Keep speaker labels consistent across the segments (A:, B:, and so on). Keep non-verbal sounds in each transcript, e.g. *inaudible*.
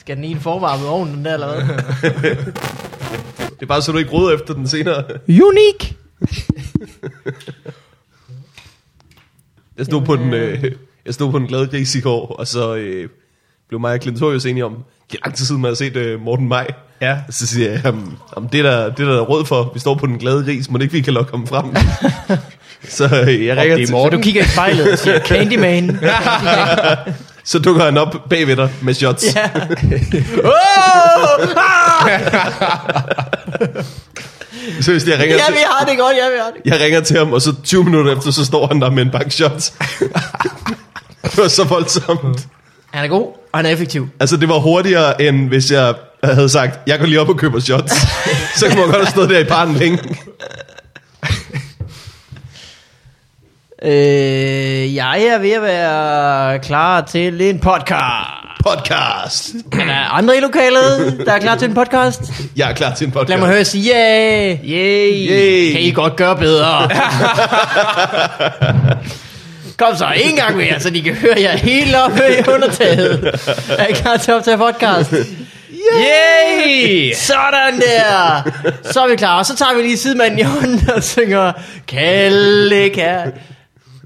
A: Skal den i en øh, forvarmet ovn, den der, eller hvad?
B: Det er bare så du ikke roder efter den senere.
A: Unique!
B: *laughs* Jeg stod, på den, øh, jeg stod på den glade gris i går, og så øh, blev mig og Clintorius enige om, det er lang tid siden, man har set øh, Morten Maj.
C: Ja.
B: Og så siger jeg, jamen, jamen, det, er der, det er der råd for, vi står på den glade gris, må det ikke vi kan lokke
A: *laughs*
B: ham frem? så øh, jeg ringer
C: det er
B: til,
C: Morten.
A: Du kigger i spejlet og siger, Candyman.
B: så dukker han op bagved dig med shots.
A: *laughs* Ja.
B: Så hvis jeg ringer,
A: ja,
B: til,
A: vi har det godt, ja, vi har det
B: jeg ringer til ham, og så 20 minutter efter, så står han der med en bank
A: *laughs*
B: shots. det var så voldsomt.
A: Han er god, og han er effektiv.
B: Altså, det var hurtigere, end hvis jeg havde sagt, jeg går lige op og køber shots. så kunne man godt have stået der i baren længe.
A: Øh, jeg er ved at være klar til en podcast.
B: Podcast.
A: Er der andre i lokalet, der er klar til en podcast?
B: Jeg er klar til en podcast.
A: Lad mig høre jer sige, yeah! Yeah!
B: Yay.
A: Kan I godt gøre
B: *laughs*
A: bedre? Kom så, en gang mere, så de kan høre jer helt op i undertaget. Er I klar til at optage podcast? Yay! Sådan der! Så er vi klar, og så tager vi lige sidemanden i hånden og synger Kalle Kær.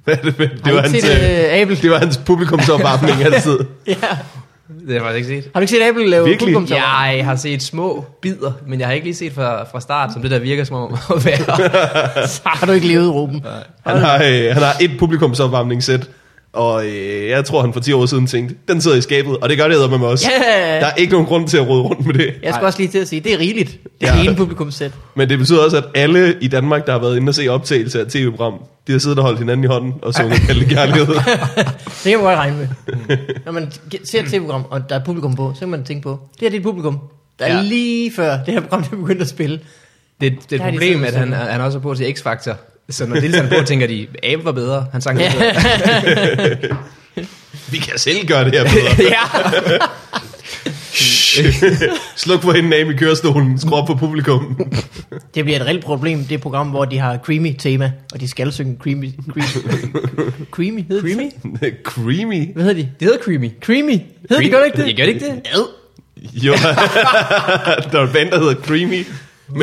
B: Hvad er det, med-
A: Har
B: det,
A: du
B: var
A: ikke
B: hans,
A: set
B: øh,
A: øh, Abel?
B: det var hans publikumsopvarmning altid.
A: Ja.
C: Det har jeg faktisk ikke set.
A: Har du ikke set Apple lave
B: Virkelig?
A: publikum til?
D: Jeg har set små bidder, men jeg har ikke lige set fra, fra start, som det der virker som om *laughs* at være.
A: Har du ikke levet, Ruben?
B: Han har, øh, han har et publikumsopvarmningssæt, og øh, jeg tror, han for 10 år siden tænkte, den sidder i skabet, og det gør det med mig også.
A: Ja.
B: Der er ikke nogen grund til at rode rundt med det.
A: Jeg skulle også lige til at sige, det er rigeligt. Det
B: Ja.
A: er ene publikumsæt.
B: Men det betyder også, at alle i Danmark, der har været inde og se optagelser af tv-program, de har siddet og holdt hinanden i hånden
A: *laughs*
B: og sunget kaldt kærlighed.
A: Det kan man godt regne med. Når man ge- ser et tv-program, og der er publikum på, så kan man tænke på, det her det er et publikum, der er
D: Ja.
A: lige før det her program, der begyndte at spille.
D: Det, det
A: Der
D: er et
A: har de
D: problem,
A: siddet
D: at han,
A: sådan.
D: han også er på til X-Factor. Så når Niels er på, tænker de, Abe var bedre. Han
A: *laughs*
D: sang det bedre.
B: Vi kan selv gøre det her bedre.
A: Ja.
B: Sluk for hende af i kørestolen, skru op på publikum. *laughs*
A: Det bliver et reelt problem, det program, hvor de har creamy tema, og de skal synge creamy. Creamy? creamy hedder creamy? Det?
B: Creamy.
A: Hvad hedder de?
D: Det hedder Creamy.
A: Creamy? Hedder de godt ikke det?
D: Jeg gør det ikke det?
A: Ad.
B: Jo, *laughs* der er en band, der hedder Creamy. Men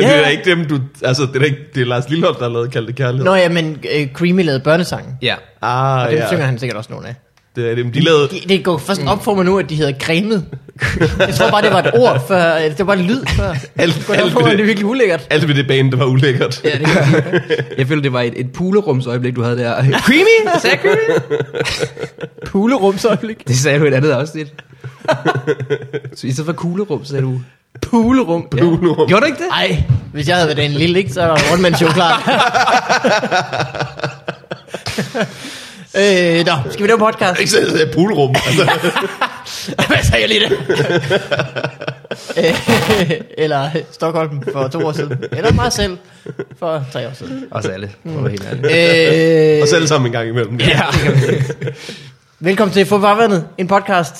A: Ja.
B: yeah. det er da ikke dem, du... Altså, det er, da ikke, det er Lars Lillehold, der har lavet Kald det Kærlighed.
A: Nå ja, men uh, Creamy lavede børnesangen.
D: Ja.
B: Ah,
A: Dem synger
B: ja.
A: han sikkert også nogen af.
B: Det er dem. De lavede...
A: Det, det går først op for mig nu, at de hedder cremet. Jeg tror bare, det var et ord før. eller Det var en lyd før.
B: Alt,
A: Det går op
B: alt,
A: for mig,
B: ved
A: det er
B: det,
A: virkelig ulækkert.
B: alt ved det band, der var ulækkert.
D: ja det
B: *laughs*
D: gør. Jeg føler, det var et, et pulerumsøjeblik, du havde der. Creamy? Sagde jeg Creamy?
A: Pulerumsøjeblik.
D: *laughs* Det sagde du i et andet afsnit. Så i stedet for kuglerum, sagde du pulerum. Ja.
B: Pulerum.
D: Gjorde du ikke det?
A: Ej, hvis jeg havde været en lille, ikke, så var det man show klar. øh, nå, skal vi lave podcast?
B: *laughs* Ikke så jeg sagde poolrum. Altså,
A: Hvad sagde jeg lige det? Øh, Eller Stockholm for to år siden. Eller mig selv for tre år siden.
D: Også alle, for at være helt ærlig.
A: Øh,
B: og så alle sammen en gang imellem. Ja.
D: Ja.
A: Velkommen til Få Farvandet, en podcast,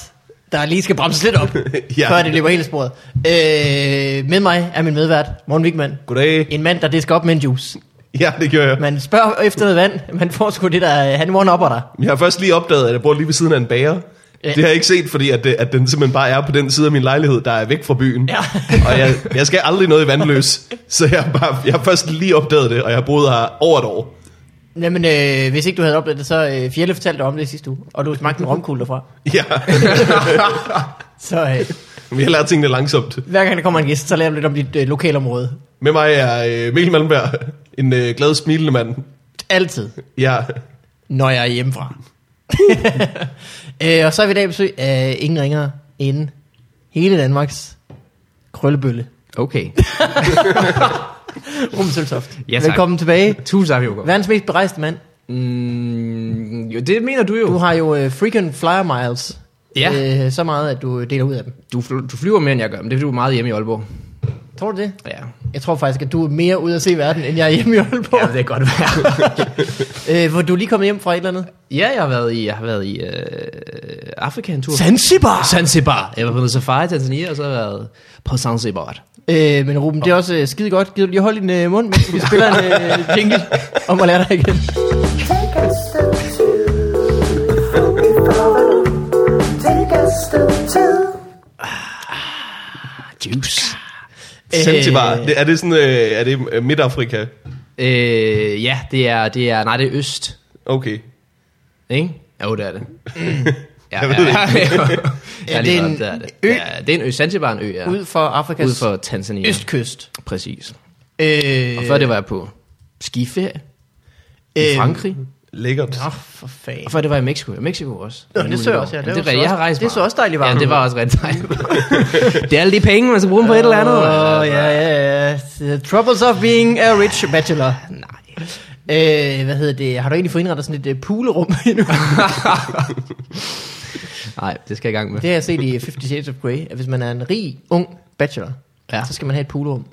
A: der lige skal bremses lidt op,
B: Ja.
A: *laughs* ja. før det løber helt af sporet. Øh, med mig er min medvært, Morten Wigman.
B: Goddag.
A: En mand, der disker op med en juice.
B: Ja, det gjorde jeg.
A: Man spørger efter noget vand, man får sgu det der, han one-upper dig.
B: Jeg har først lige opdaget, at jeg bor lige ved siden af en bager.
A: Ja.
B: Det har jeg ikke set, fordi at, det- at den simpelthen bare er på den side af min lejlighed, der er væk fra byen.
A: Ja.
B: og jeg, jeg skal aldrig noget i vandløs. Så jeg har, bare, jeg har først lige opdaget det, og jeg har boet her over et år.
A: Jamen, øh, hvis ikke du havde oplevet det, så øh, Fjelle fortalte dig om det sidste uge, og du *laughs* smagte en romkugle derfra.
B: Ja,
A: Så øh,
B: vi har lært tingene langsomt.
A: hver gang der kommer en gæst, så lærer du lidt om dit øh, lokalområde.
B: Med mig er øh, Mikkel Malmberg, en øh, glad smilende mand.
A: Altid,
B: Ja,
A: når jeg er hjemmefra. Uh. *laughs* øh, og så er vi i dag besøg af ingen ringere end hele Danmarks krøllebølle.
D: Okay.
A: Ruben Søltoft.
D: Ja, tak.
A: Velkommen tilbage.
D: Tusind tak, Joko.
A: Verdens mest berejste mand.
D: Mm, jo, det mener du jo.
A: Du har jo øh, freaking flyer miles.
D: Ja.
A: Øh, så meget, at du deler ud af dem.
D: Du, fl- du flyver mere, end jeg gør, men det er, fordi du er meget hjemme i Aalborg.
A: Tror du det?
D: Ja,
A: Jeg tror faktisk, at du er mere ude at se verden, end jeg er hjemme i Aalborg.
D: ja det kan godt være.
A: *laughs* Øh, hvor du er lige kommet hjem fra et eller andet.
D: ja, jeg har været i, jeg har været i øh, Afrika en tur.
A: Zanzibar!
D: Zanzibar. Jeg var på noget safari i Tanzania, og så har jeg været på Zanzibar.
A: Øh, men Ruben, det er også øh, skide godt. Gider du lige holde din øh, mund, mens vi spiller en øh, jingle om at lære dig igen.
E: Take us to, take us to,
A: Juice.
B: Zanzibar, det, er det sådan, øh, er det øh, Midtafrika?
D: Øh, ja, det er, det er, nej, det er øst,
B: Okay.
D: ikke? Jo, det er det. Mm. Ja,
B: Jeg ved
D: ja, *laughs* ja, det er en
A: ø.
D: ø. Ja, det er en ø. Zanzibar er en ø, ja.
A: Ud for Afrikas
D: Ud for Tanzania.
A: østkyst.
D: Præcis.
A: Øh,
D: Og før det var jeg på skiferie i
A: øh,
D: Frankrig.
B: Lækkert.
A: Nå, for fanden.
D: Og før det var jeg i Mexico. I Mexico også.
A: Nå, det så jeg også, ja.
D: Jamen,
A: Det
D: det,
A: var så
D: er rigtigt. Jeg
A: også-
D: har rejst
A: det så
D: meget.
A: også dejligt varmt.
D: Ja, det var også *laughs* rigtig dejligt. det er alle de penge, man skal bruge på et eller andet.
A: Åh, oh, ja, ja, ja. The troubles of being a rich bachelor. Nej. Øh, hvad hedder det? Har du egentlig fået indrettet sådan et øh, poolrum *laughs*
D: *laughs*
A: endnu?
D: Nej, det skal jeg i gang med.
A: det har jeg set i Fifty Shades of Grey, at hvis man er en rig, ung bachelor, ja.
D: Ja.
A: så skal man have et poolrum.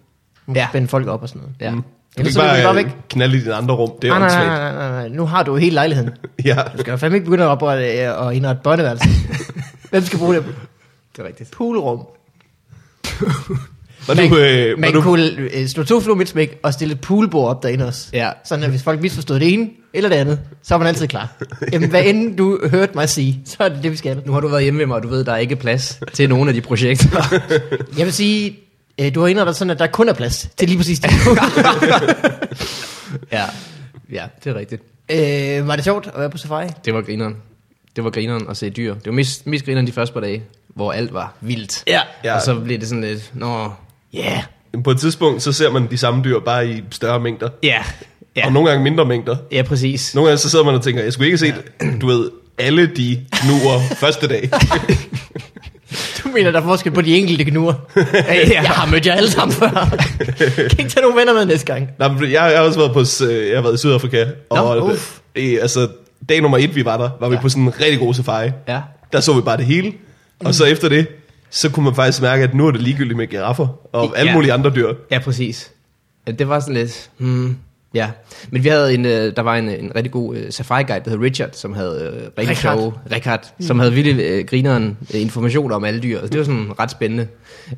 A: Man
D: Ja.
A: ja. spænde folk op og sådan noget.
D: Ja.
B: Du Mm. kan
A: Ellers
B: ikke
A: så vil vi bare
B: bare,
A: væk.
B: bare knalde i dine andre rum. Det
A: Nej,
B: er
A: nej,
B: åndssvagt.
A: nej, nej, nej, nej, nu har du jo hele lejligheden. Du
B: Ja.
A: skal jo fandme ikke begynde at oprette øh, og indrette børneværelse.
D: *laughs*
A: Hvem skal bruge det?
D: Det er rigtigt.
A: Poolrum.
B: Var
A: Man,
B: du, øh, *laughs* var
A: man
B: du,
A: kunne øh, slå to fluer med et smæk og stille et poolbord op derinde også.
D: Ja.
A: Sådan at hvis folk misforstod det ene eller det andet, så er man altid
B: *laughs*
A: klar. Jamen, hvad end du hørte mig sige, så er det det, vi skal.
D: Nu har du været hjemme med mig, og du ved, der er ikke plads til nogen af de projekter.
A: Jeg vil sige, øh, du har indrettet sådan, at der kun er plads til lige præcis det.
D: *laughs* ja. ja, det er rigtigt.
A: øh, var det sjovt at være på safari?
D: Det var grineren. Det var grineren at se dyr. Det var mest, mest grineren de første par dage, hvor alt var vildt.
A: Ja.
B: Ja.
D: Og så blev det sådan lidt, nå,
A: Ja.
B: på et tidspunkt, så ser man de samme dyr bare i større mængder.
D: ja,
B: Ja. Og
D: ja,
B: nogle gange mindre mængder.
D: ja præcis.
B: Nogle gange så sidder man og tænker, jeg skulle ikke se, du ved, alle de
A: *laughs*
B: nuer første dag.
A: Du mener, der er forskel på de enkelte
D: *laughs*
A: gnuer? Jeg har mødt jer alle sammen før. *laughs* kan ikke tage nogen venner med næste gang.
B: Nej, men jeg, jeg har også været, på, s- øh, jeg har været i Sydafrika. Og
A: Nå, uff.
B: øh, altså, dag nummer et, vi var der, var ja. vi på sådan en rigtig god safari.
D: Ja.
B: Der så vi bare det hele. Og så efter det, så kunne man faktisk mærke, at nu er det ligegyldigt med giraffer og alle
D: Ja.
B: mulige andre dyr.
D: Ja, præcis. Ja, Det var sådan lidt, hmm, ja. Men vi havde en, øh, der var en, øh, en rigtig god øh, safari-guide, der hed Richard, som havde øh, rigtig
A: Richard.
D: sjove, Richard, som havde vildt øh, grineren øh, information om alle dyr. Og det var sådan ret spændende.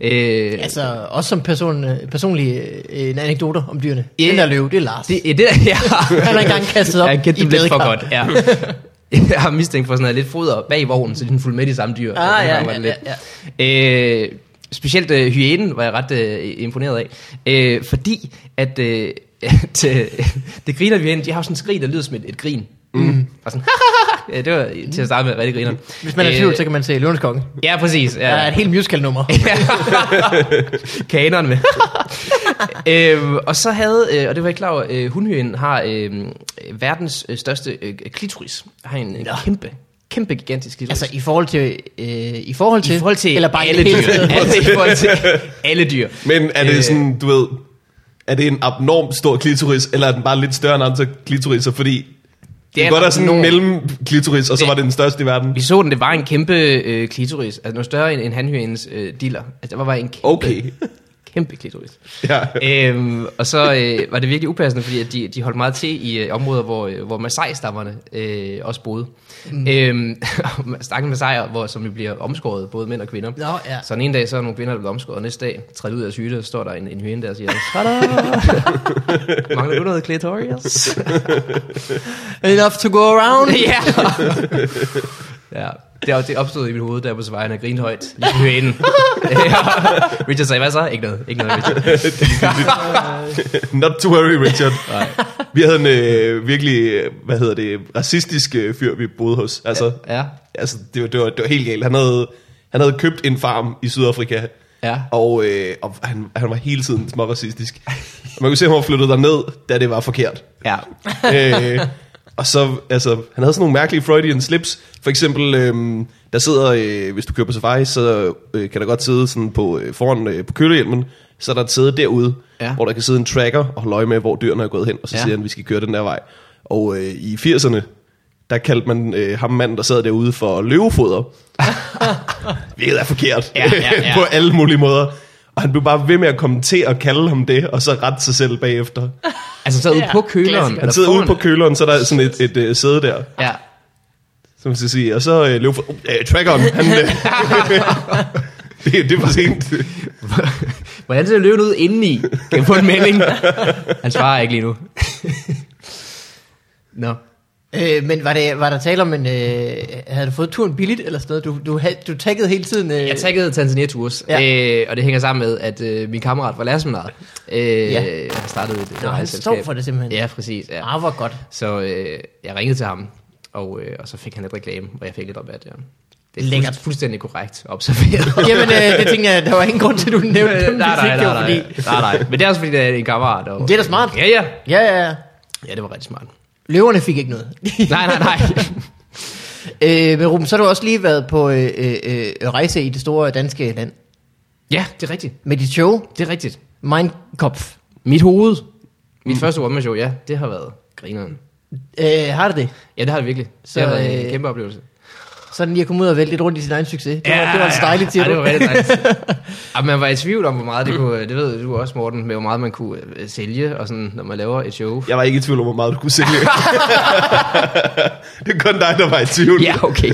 D: Øh,
A: Altså, også som person, øh, personlige øh, en anekdoter om dyrene.
D: Ja.
A: Den der løve, det er Lars.
D: det, det, *laughs* der, ja.
A: Han har engang kastet op
D: jeg
A: i
D: kendte dem lidt for
A: badekar.
D: godt, ja. *laughs* Jeg har mistænkt for sådan noget lidt foder bag vognen, så de er fuldt med de samme dyr.
A: Ah,
D: Og nogle
A: ja,
D: gange var
A: ja,
D: det lidt. Øh, specielt øh, hyænen var jeg ret øh, imponeret af, øh, fordi at, øh, *laughs* at øh, det griner vi de har jo sådan en skrig, der lyder som et, et grin. Mm. Og sådan, *laughs* Ja, det var til at starte med rigtig griner.
A: Hvis man er i tvivl, så kan man se Løvens Konge.
D: Øh. Ja, præcis.
A: Der er et helt
D: *laughs*
A: musical-nummer.
D: Kaneren med. øhm, og så havde, øh, og det var jeg klar over, øh, hundhøen har øh, verdens øh, største øh, klitoris. Har en øh, kæmpe, kæmpe gigantisk klitoris.
A: Altså i forhold til... Øh, I forhold til...
D: i forhold til
A: eller bare i
D: alle
A: det
D: dyr.
A: hele taget.
D: altså, i forhold til alle dyr.
B: Men er det
D: Øh.
B: sådan, du ved, er det en abnorm stor klitoris, eller er den bare lidt større end andre klitoriser, fordi det
D: er
B: er godt
D: en
B: er sådan en
D: abnorm-
B: mellem klitoris, og så
D: Det-
B: var det den største i verden.
D: Vi så den, det var en kæmpe øh, klitoris. Altså noget større end, end handhøens øh, diller. Altså der var bare en kæmpe,
B: Okay.
D: kæmpe klitoris.
B: Ja. *laughs*
D: øhm, og så øh, var det virkelig upassende, fordi at de, de holdt meget til i øh, områder, hvor, øh, hvor Masai-stammerne øh, også boede. Mm. Øhm, *laughs* Stakken Masai'er, hvor, som jo bliver omskåret, både mænd og kvinder.
A: Nå, ja.
D: Så den ene dag, så er nogle kvinder, der bliver omskåret, og næste dag træder ud af syge, og står der en, en hyene der og siger,
A: *laughs*
D: mangler du noget clitoris?
A: *laughs* Enough to go around.
D: ja. ja. Det, det opstod i mit hoved der på vejen og grinte højt.
A: *laughs*
D: Ligesom hyænen. ja. Richard sagde, hvad så? Ikke noget. Ikke noget,
A: *laughs*
D: Richard.
B: Not to worry, Richard. vi havde en øh, virkelig, øh, hvad hedder det, racistisk øh, fyr, vi boede hos. Altså,
D: Ja.
B: altså det, var, det, var, det var helt galt. Han havde, han havde købt en farm i Sydafrika,
D: Ja.
B: og, øh, og han, han var hele tiden små racistisk. Man kunne se, at han var flyttet derned, da det var forkert.
D: Ja.
B: *laughs* øh, og så, altså, han havde sådan nogle mærkelige Freudian slips. For eksempel, øh, der sidder, øh, hvis du kører på safari, så øh, kan der godt sidde sådan på, øh, foran øh, på kølehjelmen, så er der et sæde derude, ja.
D: Ja.
B: hvor der kan sidde en tracker og holde øje med, hvor dyrene er gået hen, og så ja.
D: Ja.
B: siger han, vi skal køre den der vej. Og øh, i 80'erne, der kaldte man øh, ham manden, der sad derude
D: *laughs*
B: for løvefoder. Hvilket er forkert
D: Ja, ja, ja.
B: *laughs* på alle mulige måder. Og han blev bare ved med at komme til at kalde ham det, og så rette sig selv bagefter.
D: Altså så ude
A: Ja,
D: på køleren.
A: klassiker.
B: Han sidder ude på køleren, så der er sådan et, et, et sæde der,
D: Ja.
B: som man skal sige. Og så øh, løb for... Øh, trackeren, han... Øh, *laughs* det, det er for sent.
D: *laughs* Hvordan ser løven ud indeni? Kan jeg få en melding? Han svarer ikke lige nu. Nå.
A: Øh, men var, det, var der tale om en... Øh, havde du fået turen billigt eller sådan noget? Du, du, havde- du taggede hele tiden... Øh,
D: Jeg taggede Tanzania Tours,
A: Ja.
D: ja. øh, og det hænger sammen med, at øh, min kammerat fra Lasmenar øh,
A: Ja.
D: ja. har startet et
A: Nå, han
D: rejseselskab.
A: stod for det simpelthen.
D: Ja, præcis. Ja.
A: Ah, hvor godt. *laughs*
D: Så øh, jeg ringede til ham, og, øh, og så fik han lidt reklame, og jeg fik lidt rabat, ja. Det er
A: Lækkert.
D: Lækkert. fuldstændig korrekt observeret.
A: Jamen, øh, det tænker jeg, der var ingen grund til, at du nævnte
D: *laughs* Øh, nej,
A: dem.
D: nej,
A: *laughs*
D: nej,
A: det var
D: nej,
A: fordi-
D: nej, nej. Men det er også fordi, det er en kammerat. Og,
A: Det er da smart.
D: Ja, ja.
A: Ja, ja, ja.
D: Ja, det var rigtig smart.
A: Løverne fik ikke noget.
D: Nej, nej, nej.
A: *laughs* øh, men Ruben, så har du også lige været på øh, øh, øh, rejse i det store danske land.
D: ja, det er rigtigt.
A: Med dit show,
D: Det er rigtigt.
A: Mindkopf.
D: Mit hoved. Mit mm. første one-man-show, ja, det har været grineren.
A: Øh, har du det?
D: Ja, det har det virkelig. Det
A: Så,
D: så, har været
A: øh,
D: en kæmpe oplevelse.
A: Sådan lige at komme ud og vælte lidt rundt i sin egen succes. Det var, det var altså dejligt, siger
D: ja, det
A: du.
D: var
A: *laughs*
D: rigtig dejligt. ja, man var i tvivl om, hvor meget det kunne, det ved du også, Morten, med hvor meget man kunne øh, sælge, og sådan, når man laver et show.
B: Jeg var ikke i tvivl om, hvor meget du kunne sælge. *laughs* det er kun dig, der var i tvivl.
D: Ja, okay.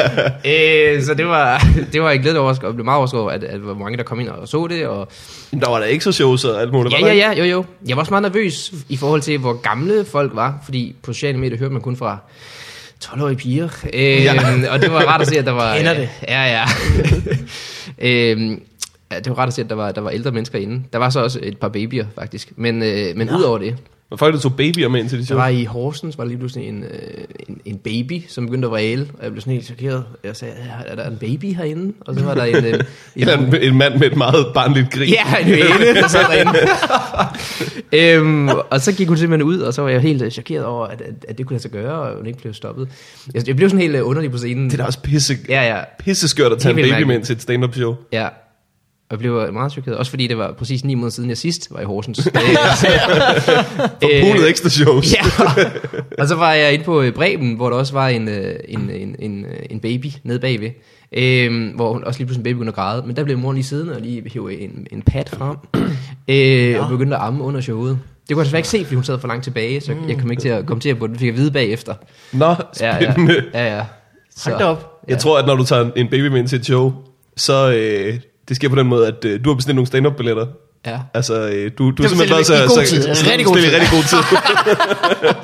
D: *laughs* øh, så det var, det var jeg glædelig overrasket, og blev meget overrasket over, at, at hvor mange der kom ind og så det, og
B: Men Der var da ikke så shows og alt muligt. var
D: Ja,
B: der
D: ja,
B: ikke?
D: ja, jo, jo. Jeg var også meget nervøs i forhold til, hvor gamle folk var, fordi på sociale medier hørte man kun fra 12-årige piger. Øhm,
B: Ja.
D: ja. Og det var rart at se, at der
B: *laughs*
D: var...
A: Kender det.
D: Ja, ja. *laughs* øhm, ja, det var rart at se, at der var, der var ældre mennesker inde. Der var så også et par babyer, faktisk. Men, øh, men udover det,
B: Var folk, der tog babyer med ind til de
D: der
B: shows?
D: var i Horsens, var der lige pludselig en, øh, en, en baby, som begyndte at vræle, og jeg blev sådan helt chokeret. Jeg sagde, er der en baby herinde? Og så var der
B: *laughs*
D: en... Øh, en
B: Eller en, en mand med et meget barnligt grin.
D: *laughs* Ja, en høne, der sad derinde. *laughs* øhm, og så gik hun simpelthen ud, og så var jeg helt øh, chokeret over, at, at, at det kunne lade sig gøre, og hun ikke blev stoppet. Jeg, jeg blev sådan helt øh, underlig på scenen.
B: Det er da også pisse, ja.
D: Ja, ja,
B: pisseskørt at tage en
D: Helt vildt
B: baby med
D: mærkeligt.
B: ind til et stand-up show.
D: ja. Og jeg blev øh, meget chokeret, også fordi det var præcis 9 måneder siden, jeg sidst var i Horsens. Øh,
B: Forpulet ekstra shows.
D: Ja, og så var jeg inde på øh, Bremen, hvor der også var en, øh, en, en, en, øh, en baby nede bagved. Øhm, hvor hun også lige pludselig en baby begyndte at græde, men der blev mor lige siddende og lige hævde en, en pad frem, *clears throat* øh, og begyndte at amme under showet. Det kunne jeg desværre ikke se, fordi hun sad for langt tilbage, så jeg kom ikke til at kommentere på det, fik jeg at vide bagefter.
B: Nå,
D: Ja,
B: spændende.
D: ja, ja, ja. Så,
A: Hold da op.
B: Jeg tror, at når du tager en baby med ind til et show, så øh, det sker på den måde, at øh, du har bestilt nogle stand-up-billetter.
D: Ja.
B: Altså, øh, du, du
A: bestiller
B: har simpelthen været så...
A: vi i god
B: så,
A: tid.
B: så-
A: Rigtig god
B: bestiller i
A: tid.
B: rigtig god
D: *laughs*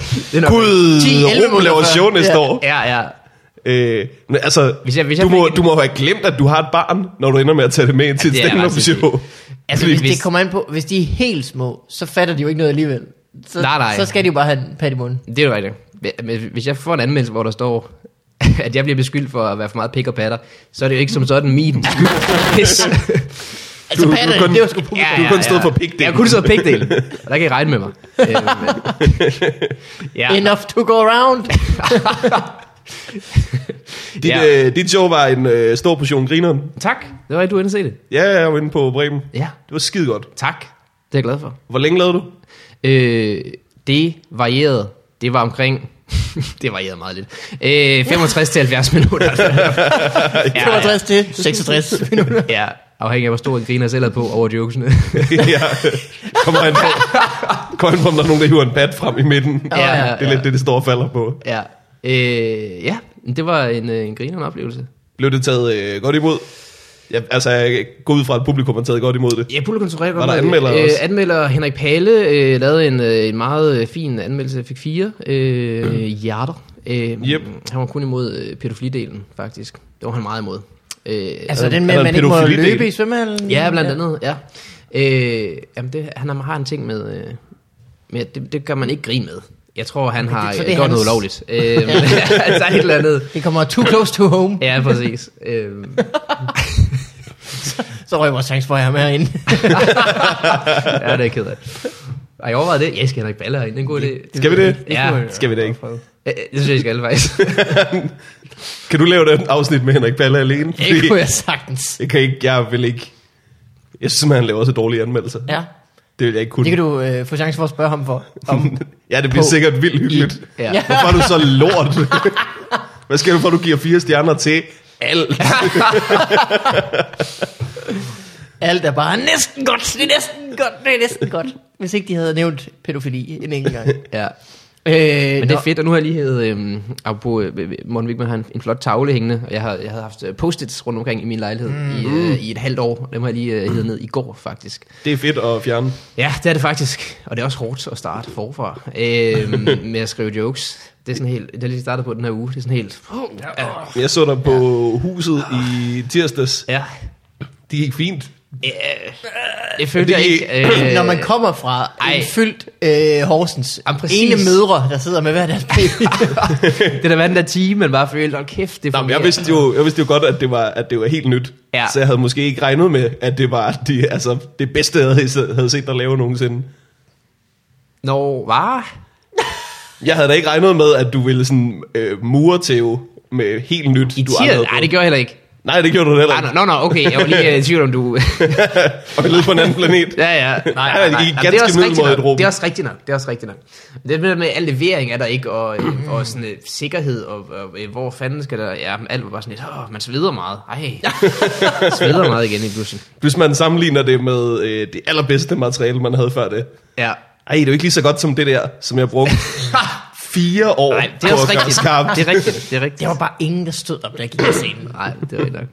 B: tid.
D: Det er nok-
B: Gud,
A: 10-11
B: Ruben laver
A: måneder
B: show
A: før.
B: næste
A: Ja.
B: år.
D: Ja, ja.
B: Øh, men altså,
D: Hvis jeg- hvis
B: du,
D: jeg
B: må,
D: fik en-
B: du må have glemt, at du har et barn, når du ender med at tage det med ind til et
D: det er ret
B: stand-up show.
A: Altså,
B: Fordi-
A: hvis det kommer an på, hvis de er helt små, så fatter de jo ikke noget alligevel. Så,
D: Nej, nej.
A: så skal de jo bare have en pat i munden.
D: Det er jo rigtigt. Men Hvis jeg får en anmeldelse, hvor der står, *laughs* at jeg bliver beskyldt for at være for meget pik og patter, så er det jo ikke som sådan min *laughs* skyld. Pis.
A: Altså,
B: Du- du
A: patter,
B: kun-
A: det var sgu på.
B: Du er kun stået for pigdelen.
D: Jeg har kun stået for pigdelen. Og der kan I regne med mig. *laughs* Øhm, ja.
A: Enough to go around.
B: Dit,
D: Ja.
B: øh, dit show var en øh, stor portion grineren.
D: Tak. Det var, at du endte se det.
B: Ja, jeg var inde på Bremen.
D: Ja.
B: Det var skide godt.
D: Tak. Det er jeg glad for.
B: Hvor længe lavede du?
D: Øh, det varierede. Det var omkring... *laughs* det varierede meget lidt. Øh, 65 til 70 *laughs* minutter. ja,
A: 62 til 66 minutter.
D: ja, ja. Afhængig af, hvor stor en griner jeg selv havde på over jokesene.
B: ja. Kommer han på, kommer han på, om der er nogen, der hiver en bat frem i midten.
D: Ja, ja,
B: det er lidt
D: ja.
B: det, det står og falder på.
D: ja. *laughs* Øh, ja, det var en, øh, en grinerende oplevelse.
B: Blev det taget øh, godt imod? Ja, altså, jeg går ud fra, at publikum har taget godt imod det.
D: Ja, publikum tog rigtig godt
B: Var der
D: imod det.
B: anmeldere også?
D: Øh, anmelder Henrik Palle øh, lavede en, øh, en meget øh, fin anmeldelse, Jeg fik fire øh, hjerter. Øh,
B: Yep.
D: Han var kun imod øh, pædofilidelen, faktisk. Det var han meget imod. Øh,
A: Altså,
B: Er der-
A: den med,
B: er
A: at
B: der en
A: man ikke må
B: pædofilidel?
A: løbe i svømmehallen.
D: ja, blandt andet, ja. Øh, jamen, det, han har en ting med, øh, med at det, det gør man ikke grin med. Jeg tror, han
A: det-
D: har
A: så
D: det,
A: det er
D: gjort noget
A: hans-
D: ulovligt. Øh, *laughs* altså et eller andet.
A: Det kommer too close to home.
D: Ja, præcis. Øh,
A: Så røg vores chance for jer med herinde.
D: ja, det er jeg ked af. Har I overvejet det? Ja, jeg skal Henrik Palle herinde. Det er en god idé.
B: Skal vi det?
D: Ja,
B: Skal vi det ikke?
D: Øh, Det synes jeg, I skal faktisk.
B: Kan du lave det afsnit med Henrik Palle alene?
A: Det kunne jeg sagtens.
B: jeg kan ikke, jeg vil ikke. Jeg synes simpelthen, han laver så dårlige anmeldelser.
A: Ja,
B: Det vil jeg ikke kunne.
A: det kan du øh, få chance for at spørge ham for. Om,
B: *laughs* ja, det bliver
A: på-
B: sikkert vildt hyggeligt.
D: Ja.
B: Hvorfor er du så lort? *laughs* Hvad skal du for, at du giver fire stjerner til? Alt.
A: alt er bare næsten godt, det er næsten godt, det er næsten godt. Hvis ikke de havde nævnt pædofili en enkelt gang.
D: Ja.
A: Øh,
D: Men det er fedt, og nu har jeg lige hævet, øhm, apropos, øh, øh, Morten Wigman har en, en flot tavle hængende, og jeg, har, jeg havde haft øh, post-its rundt omkring i min lejlighed mm. i, øh, i et halvt år. Dem har jeg lige øh, hævet ned i går, faktisk.
B: Det er fedt at fjerne.
D: Ja, det er det faktisk, og det er også hårdt at starte forfra øhm, med at skrive jokes. Det er sådan helt, det er lige startet på den her uge, det er sådan helt, ja,
B: Jeg så dig på huset i tirsdags.
D: ja,
B: Det gik fint.
D: øh, det følte jeg
B: Det-
D: ikke.
A: *clears throat*
D: Øh,
A: når man kommer fra Ej.
D: Ej.
A: en fyldt øh, Horsens
D: Jamen, præcis.
A: ene mødre, der sidder med hver deres baby.
D: det der var den der time, man bare følte, oh, kæft, det
B: Nå, men jeg,
D: fungerer."
B: vidste jo, jeg vidste jo godt, at det var, at det var helt nyt.
D: Ja.
B: Så jeg havde måske ikke regnet med, at det var de, altså, det bedste, jeg havde, havde set dig lave nogensinde.
D: Nå, var?
B: Jeg havde da ikke regnet med, at du ville sådan øh, mure til med helt nyt.
D: I
B: du aldrig
D: tirsdag?
B: havde
D: Nej,
B: prøvet.
D: det gjorde jeg heller ikke.
B: Nej, det gjorde du heller
D: Ah,
B: ikke.
D: nå, nå, okay, jeg var lige øh, i tvivl om du...
B: Og vi lød på en
D: *laughs*
B: anden planet.
D: Ja, ja. Nej,
B: nej, det gik
D: Jamen,
B: ganske
D: det er også rigtigt
B: middelmådigt,
D: nok.
B: Ruben.
D: Det er også rigtigt nok. Det er også rigtigt nok. Men Det der med al levering er der ikke, og, øh, *clears throat* og sådan øh, sikkerhed, og, og øh, hvor fanden skal der... Ja, men alt var bare sådan lidt, åh, man sveder meget. Ej,
B: *laughs*
D: sveder meget igen i pludselig.
B: Hvis man sammenligner det med øh, det allerbedste materiale, man havde før det. *laughs*
D: Ja.
B: Ej, det er jo ikke lige så godt som det der, som jeg
D: *laughs*
B: brugte fire år
D: Nej, det er også
B: på at gøre
D: rigtigt.
B: skarpt.
D: Det er rigtigt, det er rigtigt.
A: Der var bare ingen, der stod op, der gik i scenen.
D: Nej, det er rigtigt nok.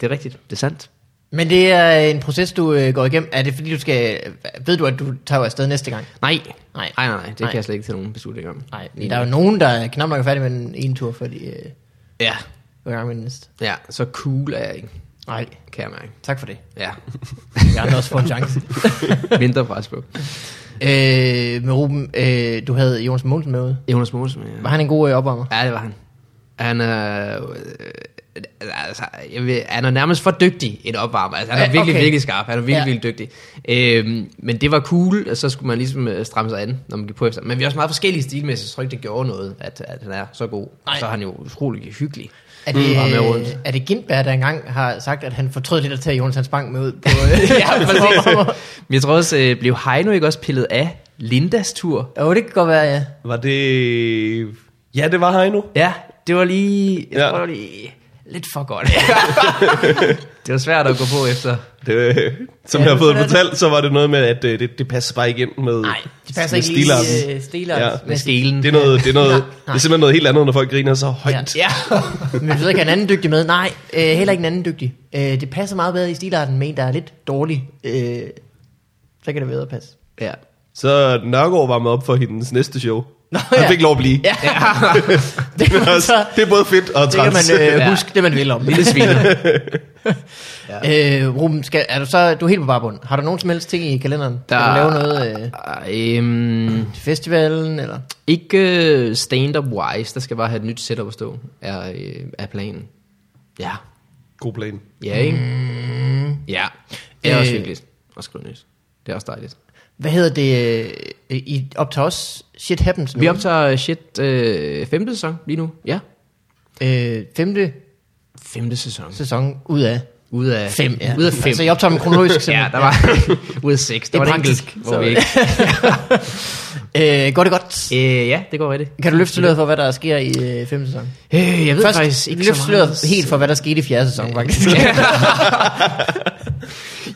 D: Det er rigtigt, det er sandt.
A: Men det er en proces, du øh, går igennem. Er det fordi, du skal... Ved du, at du tager afsted næste gang?
D: Nej,
A: Nej.
D: nej, nej, nej det
A: Nej.
D: kan jeg slet ikke tage nogen beslutning om.
A: Nej, der er jo nogen, der er knap nok er færdige med den ene tur, før de øh,
D: Ja,
A: går i gang med den næste.
D: ja, så cool er jeg ikke,
A: Nej,
D: kan jeg mærke.
A: tak for det.
D: Ja,
A: Jeg har også fået en chance.
D: mindre pres på.
A: øh, med Ruben, øh, du havde Jonas Mogensen med ude.
D: Jonas Mogensen, ja.
A: Var han en god øh, opvarmer?
D: Ja, det var han. Han er... Øh, øh, altså, jeg ved, han er nærmest for dygtig en opvarmer. Altså, han er
A: Ja,
D: virkelig,
A: okay.
D: virkelig skarp. Han er virkelig,
A: Ja.
D: virkelig dygtig. Øhm, men det var cool, og så skulle man ligesom øh, stramme sig an, når man gik på efter. Men vi er også meget forskellige stilmæssigt, så jeg tror ikke, det gjorde noget, at, at han er så god. Og
A: Nej.
D: så er han jo utrolig hyggelig.
A: Er det,
D: Bare med rundt.
A: er det Gindberg, der engang har sagt, at han fortrød lidt at tage Jonas Hans Bank med ud på... øh, *laughs*
D: *laughs* ja, præcis.
A: opvarmer?
D: Men jeg tror også, øh, blev Heino ikke også pillet af Lindas tur?
A: Jo, det kan godt være, ja.
B: Var det... Ja, det var her endnu.
D: Ja, det var lige... Jeg
B: Ja.
D: ja. tror, det var lige lidt for godt. det var svært at gå på efter.
B: Det, øh, som
A: Ja,
B: ja, jeg har fået
A: sådan er det.
B: fortalt, så var det noget med, at øh, det, det passer bare ikke ind med
A: Nej, de passer
B: med
A: ikke lige
B: stilarten.
A: øh, stilers.
B: Ja.
A: Ja.
D: Med skelen.
B: Det er, noget, det, er noget,
A: Nej,
B: det er simpelthen noget helt andet, når folk griner så højt. Ja.
D: Ja.
A: *laughs* Men vi ved ikke, er en anden dygtig med? Nej, øh, heller ikke en anden dygtig. Øh, det passer meget bedre i stilarten med en, der er lidt dårlig. Øh, så kan det bedre passe.
D: ja.
B: Så Nørgaard var med op for hendes næste show.
A: Nå,
B: Han
A: ja.
B: fik lov at blive. *laughs*
A: Ja, det,
B: *laughs* Det, er
A: man
B: også,
A: *laughs* så,
B: det er både fedt og
A: det kan
B: træls.
A: man øh,
D: Ja.
A: huske, det man vil om.
D: *laughs* Lille svin.
A: Øh, Ruben, skal, er du så du er helt på barbund? Har du nogen som helst ting i kalenderen? Der... Kan du lave noget øh,
D: øhm,
A: til festivalen? Eller?
D: ikke øh, stand-up wise, der skal bare have et nyt setup at stå, er, øh, er planen. Ja.
B: *laughs* God plan.
D: Ja, ikke? Mm. Ja. Det er også
A: Øh.
D: hyggeligt at skrive nyt. Det er også dejligt.
A: Hvad hedder det? Øh, I optager også Shit Happens nu?
D: Vi optager shit øh, femte sæson lige nu. Ja.
A: øh, femte
D: Femte sæson.
A: sæson ud af
D: Ud af
A: fem. Ja.
D: Ud af fem.
A: Så I optager dem kronologisk simpelthen?
D: *laughs* ja, der var *laughs* ud af seks. Der
A: Det
D: var
A: er
D: en enkelt,
A: praktisk,
D: hvor
A: så-
D: vi ikke.
A: *laughs* Øh, går det godt?
D: Øh, ja, det går rigtigt.
A: Kan du løfte sløret for, hvad der sker i øh, femte sæson?
D: Øh, jeg ved
A: Først
D: faktisk ikke
A: løfte
D: så meget.
A: sløret helt for, hvad der skete i fjerde sæson,
D: *laughs*
A: faktisk.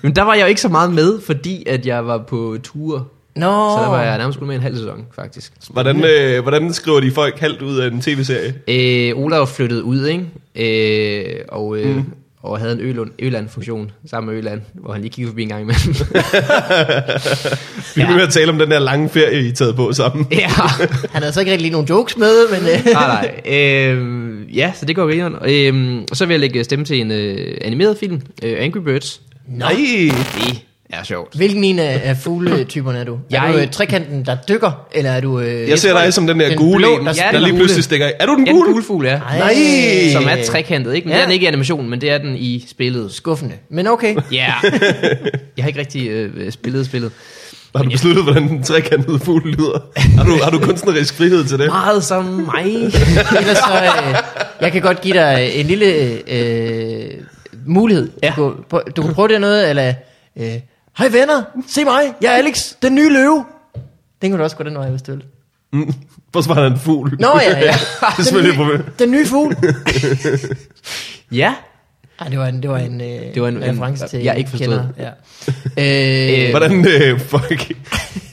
D: Men der var jeg jo ikke så meget med, fordi at jeg var på tur.
A: Nå,
D: Så der var jeg nærmest kun med en halv sæson, faktisk.
B: Hvordan, øh, hvordan skriver de folk halvt ud af en tv-serie?
D: Øh, Olav flyttede ud, ikke? Øh, og, øh, mm. og havde en Ølund, Øland-funktion sammen med Øland, hvor han lige kiggede forbi en gang imellem.
B: Vi
D: Ja.
B: bliver med at tale om den der lange ferie, I er taget på sammen.
D: *laughs* *laughs* ja,
A: han havde så ikke rigtig lige nogen jokes med, men øh,
D: *laughs* Ah, nej, nej. Øh, ja, så det går grineren. Øh, og så vil jeg lægge stemme til en øh, animeret film, øh, Angry Birds.
B: Nej,
D: Det er sjovt.
A: hvilken en af, af fugletyperne er du? Jeg... Er
D: Jeg-
A: du øh, trekanten, der dykker, eller er du... Øh,
B: jeg ser dig som den der
A: Den
B: gule,
A: blå,
B: en,
A: der-
B: der,
D: Ja, den
B: lige
D: gule.
B: pludselig stikker af. Er du den
D: Ja, den
B: gule?
D: gule fugl, ja.
A: Ej,
B: Nej.
D: Som er trekantet, ikke? Men
A: Ja.
D: ja. det er den ikke i animationen, men det er den i spillet.
A: skuffende. Men okay,
D: Ja. Yeah. jeg har ikke rigtig øh, spillet spillet.
B: Har du besluttet, hvordan den trekantede fugl lyder? Har du, har du kunstnerisk frihed til det?
D: Meget som mig.
A: *laughs* ellers så... Øh, jeg kan godt give dig øh, en lille øh, mulighed.
D: Ja.
A: Du, kan prø- du kan prøve det noget, eller... øh, Hej venner, se mig, jeg er Alex, den nye løve. Den kan du også gå den vej, hvis du vil.
B: Mm. Hvorfor var der en fugl?
A: Nå
B: *laughs*
A: ja, *laughs* ja.
B: det er selvfølgelig et problem.
A: Den nye fugl.
D: ja.
A: Ej, det var en, det var en, øh,
D: Det var en- en-
A: reference til...
D: jeg ikke forstod.
A: Kender, ja. øh,
B: Hvordan øh, folk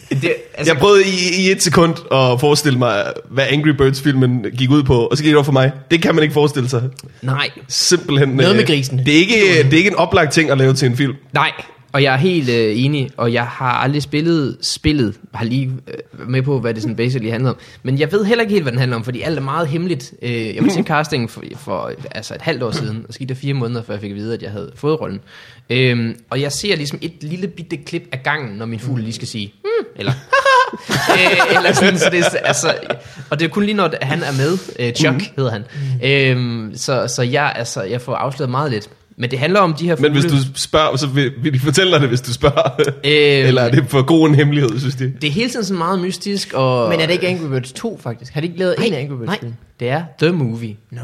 D: Det, altså,
B: Jeg prøvede i, i et sekund at forestille mig, hvad Angry Birds-filmen gik ud på, og så gik det op for mig. Det kan man ikke forestille sig.
D: nej,
B: Simpelthen.
A: Noget
B: øh,
A: med grisen.
B: Det er, ikke, det er ikke en oplagt ting at lave til en film.
D: nej. Og jeg er helt øh, enig, og jeg har aldrig spillet spillet. Jeg har lige øh, været med på, hvad det sådan basically handler om. Men jeg ved heller ikke helt, hvad den handler om, fordi alt er meget hemmeligt. Øh, jeg var til casting for, for altså et halvt år siden, og så gik der fire måneder, før jeg fik at vide, at jeg havde fået rollen. Øh, og jeg ser ligesom et lille bitte klip af gangen, når min fugl lige skal sige, hmm, eller *laughs* øh, eller sådan, så det, er- altså, og det er kun lige når han er med, øh, Chuck
B: Mhm.
D: mm. hedder han, øhm, så, så jeg, altså, jeg får afsløret meget lidt. Men det handler om de her
B: Men hvis
D: fugle.
B: du spørger, så vil, vil de fortælle dig det, hvis du spørger.
A: Øh,
D: Øhm.
B: *laughs* Eller er det for god en hemmelighed, synes de?
D: Det er hele tiden sådan meget mystisk. Og,
A: Men er det ikke Angry Birds 2, faktisk? Har de ikke lavet en Angry Birds
D: Nej,
A: film?
D: det er The Movie.
A: Nå.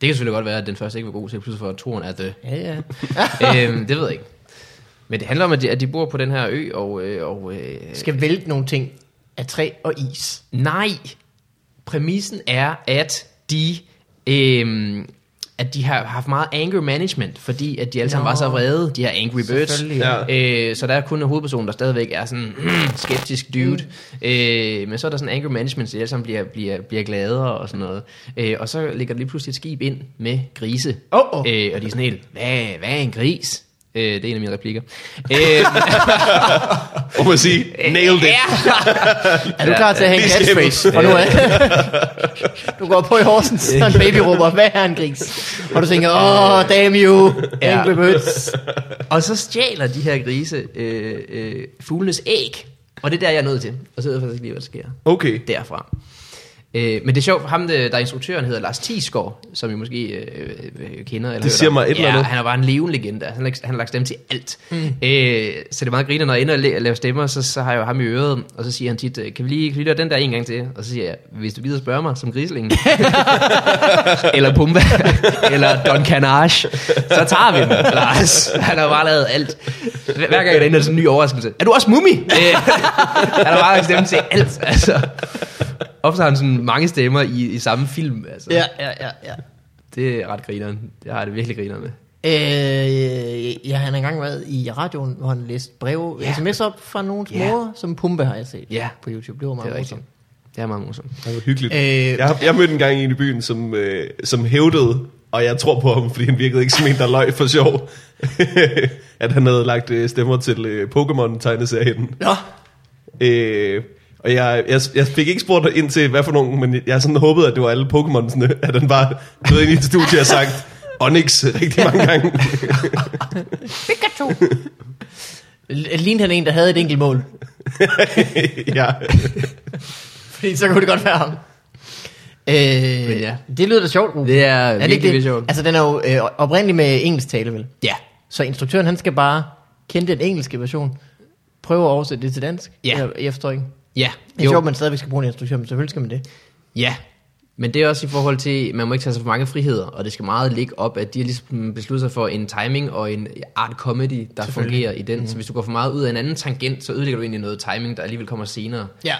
D: Det kan selvfølgelig godt være, at den første ikke var god, så pludselig for toren er The.
A: Ja, ja. *laughs*
D: øhm, *laughs* det ved jeg ikke. Men det handler om, at de, at de bor på den her ø, og... Øh, og øh,
A: Skal vælte nogle ting af træ og is.
D: Nej. Præmissen er, at de, øhm, at de har haft meget anger management, fordi at de alle sammen
A: Nå.
D: var så vrede, de her Angry Birds.
A: Selvfølgelig, ja.
D: Øh, så der er kun en hovedperson, der stadigvæk er sådan *clears throat* skeptisk dude.
A: Mm.
D: Øh, men så er der sådan anger management, så de alle sammen bliver, bliver, bliver gladere og sådan noget. Øh, og så ligger der lige pludselig et skib ind med grise.
A: Åh, åh.
D: Øh, og de er sådan helt, hvad, hvad er en gris? Øh, det er en af mine
A: *laughs*
D: replikker. Øh,
B: Og man sige,
A: Øh,
B: nailed
D: *laughs*
B: it.
A: Er du klar til at have en
B: Ja, det er
A: catchphrase fra nu af? *laughs* du går på i Horsens, så er en baby råber, hvad er en gris? Og du tænker, åh, oh, damn you,
D: Ja.
A: Angry Birds.
D: Og så stjæler de her grise øh, øh, fuglenes æg. Og det er der, jeg er nødt til. Og så ved jeg faktisk lige, hvad der sker
B: Okay.
D: derfra. Øh, men det er sjovt, ham der, der er instruktøren, hedder Lars Tisgaard, som I måske øh, øh, kender. Eller
B: Det siger mig et eller
D: Ja,
B: andet.
D: han er bare en levende legende. Han har, lagt- han har lagt stemme til alt. Mm. Øh, så det er meget griner, når jeg ender og la- laver stemmer, så, så har jeg jo ham i øret, og så siger han tit, øh, kan vi lige kan vi lige høre den der en gang til? Og så siger jeg, hvis du gider spørge mig som grislingen, eller Pumba, *laughs* eller Don Canage, så tager vi den, Lars. Han har bare lavet alt. Hver hver gang der ender sådan en ny overraskelse. Er du også mummi? Øh, *laughs* han har bare lagt stemme til alt, altså. Ofte har han sådan mange stemmer i, i samme film, altså.
A: Ja, ja, ja, ja.
D: Det er ret grineren. Det har jeg det virkelig grineren med.
A: Øh, jeg har engang været i radioen, hvor han læste breve,
D: Ja.
A: yeah. sms op fra nogens
D: Ja.
A: yeah. mor, som Pumpe har jeg set
D: Ja.
A: på YouTube. Det var
D: Det
A: meget
D: er rigtigt.
A: morsomt.
D: Det er meget morsomt.
B: Det var hyggeligt.
A: Øh,
B: Øh, jeg, jeg mødte en gang en i byen, som, øh, som hævdede, og jeg tror på ham, fordi han virkede ikke som en, der løg for sjov, *laughs* at han havde lagt øh, stemmer til øh, Pokémon-tegneserien.
A: Nå,
B: Øh, og jeg, jeg, jeg fik ikke spurgt ind til, hvad for nogen, men jeg sådan håbede, at det var alle Pokémonsene, at han bare blev ind i et studie og sagt Onyx rigtig mange gange. *laughs*
A: Pikachu. L- Lignede han en, der havde et enkelt mål?
B: ja.
A: Fordi så kunne det godt være ham. Øh,
D: Men ja.
A: Det lyder da sjovt, Ruben.
D: Det er, er
A: Mm. Er det
D: virkelig,
A: ikke
D: virkelig
A: det?
D: sjovt.
A: Altså, den er jo øh, oprindelig med engelsk tale, vel?
D: Ja.
A: Så instruktøren, han skal bare kende den engelske version, prøve at oversætte det til dansk.
D: Ja.
A: Eller, jeg forstår ikke.
D: Ja.
A: Det er sjovt, at man stadigvæk skal bruge en instruktør, men selvfølgelig skal man det.
D: Ja, men det er også i forhold til, man må ikke tage sig for mange friheder, og det skal meget ligge op, at de har ligesom besluttet sig for en timing og en art comedy, der fungerer i den. Mm.
A: Mhm.
D: Så hvis du går for meget ud af en anden tangent, så ødelægger du egentlig noget timing, der alligevel kommer senere
A: Ja.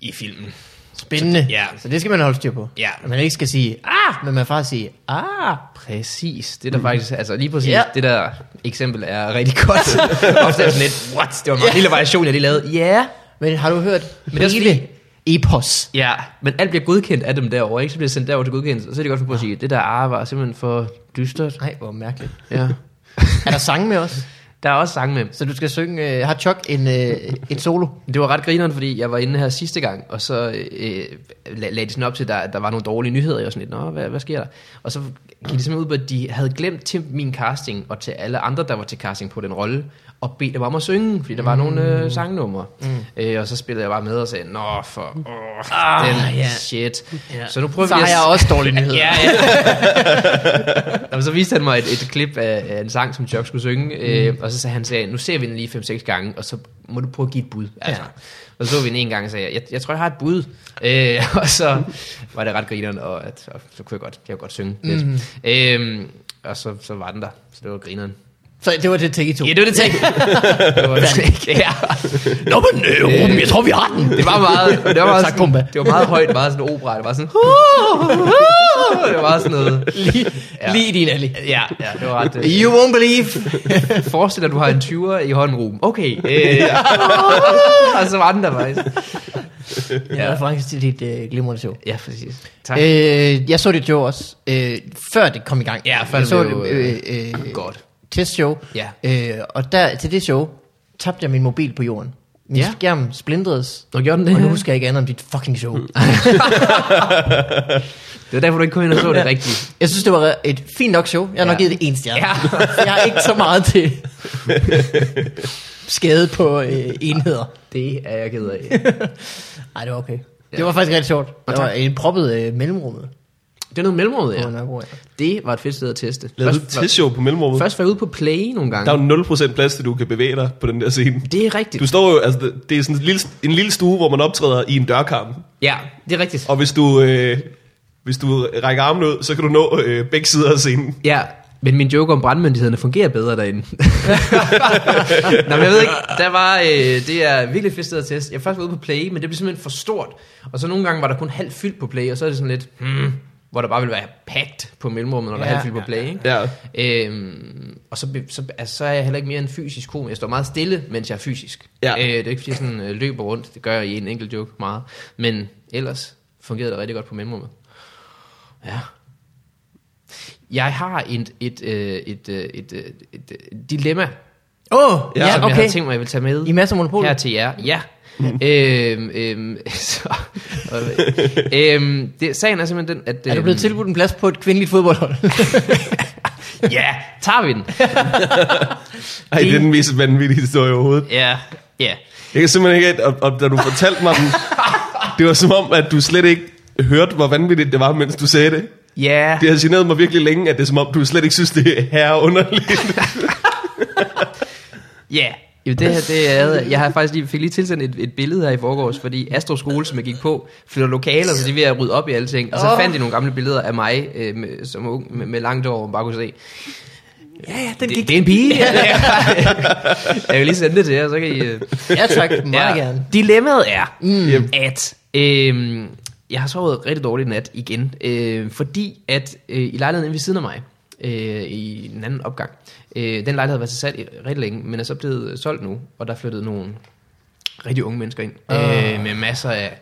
D: i filmen.
A: Spændende.
D: Så- ja.
A: Så det skal man holde styr på.
D: Ja.
A: At man ikke skal sige, ah, men man faktisk sige, ah.
D: Præcis, det der faktisk, altså lige præcis,
A: Ja.
D: det der eksempel er rigtig godt.
A: *laughs*
D: Ofte er sådan lidt, what, det var en meget
A: Ja.
D: lille variation, jeg lige lavede. Ja, yeah.
A: Men har du hørt
D: det er også
A: hele epos?
D: Ja, men alt bliver godkendt af dem derovre, ikke? Så bliver det sendt derover til godkendelse, og så er det godt for på at sige, det der ar var simpelthen for dystert.
A: Nej, Ah. hvor mærkeligt.
D: Ja.
A: Er der sang med os?
D: Der er også sang med.
A: Så du skal synge, øh, har Chuck en, øh, et solo?
D: Det var ret grineren, fordi jeg var inde her sidste gang, og så øh, la- lagde de sådan op til, at der, der var nogle dårlige nyheder. Jeg var sådan lidt, nå, hvad, hvad sker der? Og så gik det simpelthen ud på, at de havde glemt til min casting, og til alle andre, der var til casting på den rolle, og bedte dem om at synge, fordi der var nogle øh, sangnumre. Mm. Øh, og så spillede jeg bare med og sagde, nå, for åh,
A: Ah,
D: den
A: ja.
D: shit.
A: Ja.
D: Så nu prøver
A: Så
D: vi
A: har
D: at-
A: jeg også dårlige nyheder. *laughs*
D: *laughs* Ja, ja. Jamen, så viste han mig et, et klip af, af en sang, som Chuck skulle synge,
A: Mm.
D: øh, og så sagde han, sagde, nu ser vi den lige 5-6 gange, og så må du prøve at give et bud. Altså.
A: Ja.
D: Ja. Og så så vi den en gang og sagde, jeg, jeg tror, jeg har et bud. Øh, *laughs* og så var det ret grineren, og, Øhm, at, og så kunne jeg godt, jeg kunne godt synge lidt. Mm. Øh, og så, så var den der, så det var grineren.
A: Så det var det take i to.
D: Ja, det var det
A: *laughs*
D: ting. det var det ikke. Ja.
A: Nå, men øh, Ruben, jeg tror, vi *laughs* har den.
D: Det var meget, det var meget,
A: Tak,
D: sådan,
A: Pumba.
D: det var meget højt, meget sådan opera. Det var sådan, *laughs* det var sådan noget.
A: Lige,
D: Ja.
A: lige i din alley.
D: Ja, ja, det var ret. øh,
A: You won't
D: *laughs*
A: believe.
D: Forestil dig, at du har en 20'er i hånden, Ruben. Okay.
B: *laughs*
D: Øh, *laughs* og så var den der faktisk.
A: Ja, reference til dit øh, glimrende show.
D: Ja, præcis. Tak. Øh,
A: Øh, jeg så dit show også, øh, før det kom i gang.
D: Ja, før
A: jeg
D: det
A: så
D: blev,
A: øh, øh,
D: godt.
A: testshow.
D: Ja.
A: Øh, og der, til det show tabte jeg min mobil på jorden. Min
D: Ja.
A: skærm splintredes.
D: Nå, gjorde den det? Mm.
A: Og nu husker jeg ikke andet om dit fucking show.
D: Det var derfor, du ikke kom ind og så det rigtigt.
A: Jeg synes, det var et fint nok show. Jeg har ja. nok
D: Ja.
A: givet det en stjerne.
D: Ja.
A: *laughs* jeg har ikke så meget til skade på øh,
D: *laughs*
A: enheder.
D: Det er jeg ked af.
A: Nej, det var okay. Det
D: Ja.
A: var faktisk rigtig sjovt. Det var
D: tak.
A: en proppet øh, mellemrummet.
D: Det er noget mellemråd,
A: Ja.
D: ja. Det var et fedt sted at teste.
B: Lavede du et testshow på mellemrummet?
D: først var jeg ude på play nogle gange.
B: Der er jo 0% plads til, du kan bevæge dig på den der scene.
D: Det er rigtigt.
B: Du står jo, altså, det- det er sådan en lille, en lille stue, hvor man optræder i en dørkarm.
D: Ja, det er rigtigt.
B: Og hvis du, øh, hvis du rækker armen ud, så kan du nå øh, begge sider af scenen.
D: Ja, men min joke om brandmyndighederne fungerer bedre derinde. Nå, men jeg ved ikke, der var, øh, det er virkelig et fedt sted at teste. Jeg var først ude på play, men det blev simpelthen for stort. Og så nogle gange var der kun halvt fyldt på play, og så er det sådan lidt, hmm, hvor der bare ville være pagt på mellemrummet, når der
A: Ja.
D: er halvt fyldt på play. Ikke?
B: Ja.
D: Øhm, og så, be- så, altså, så er jeg heller ikke mere en fysisk komiker. Jeg står meget stille, mens jeg er fysisk.
B: Ja.
D: Øh, det er ikke, fordi jeg sådan, øh, løber rundt. Det gør jeg i en enkelt joke meget. Men ellers fungerede det rigtig godt på mellemrummet. Ja. Jeg har et, et, øh, et, øh, et, øh, et, et dilemma,
A: Åh, oh,
B: Ja,
A: ja,
D: som
A: ja
D: jeg havde
A: okay.
D: tænkt mig, jeg ville tage med
A: I Mm. masser af monopol.
D: her til jer. Ja. øhm, øhm, *laughs* så, øhm, det, sagen er simpelthen den, at...
A: Er du
D: øhm,
A: blevet tilbudt en plads på et kvindeligt
D: *laughs*
A: fodboldhold?
D: Ja, tager
A: *laughs*
D: vi den?
B: Ej, det er den mest vanvittige historie overhovedet.
D: Ja, ja.
B: Jeg kan simpelthen ikke, og, og da du fortalte mig den, det var som om, at du slet ikke hørte, hvor vanvittigt det var, mens du sagde det.
D: Ja,
B: Det har generet mig virkelig længe, at det er som om, du slet ikke synes, det er her underligt.
D: ja. Jo, det her, det er, jeg har faktisk lige, fik lige tilsendt et, et billede her i forgårs, fordi Astro Skole, som jeg gik på, flytter lokaler, så de er ved at rydde op i alle ting. Og så
A: Åh.
D: fandt de nogle gamle billeder af mig, øh, med, som ung, med, med langt over, man bare kunne se.
A: ja, ja, den
D: Det, det er en
A: *laughs*
D: pige. jeg vil lige sende det til jer, så kan I... øh,
A: Ja
D: *laughs*
A: tak, meget gerne.
D: Dilemmaet er,
B: Yep.
D: mm. at øh, jeg har sovet rigtig dårligt i nat igen, øh, fordi at øh, i lejligheden inde ved siden af mig, øh, i en anden opgang, øh, den lejlighed har været til salg i rigtig længe, men er så blevet øh, solgt nu, og der er flyttet nogle rigtig unge mennesker ind, øh, med masser af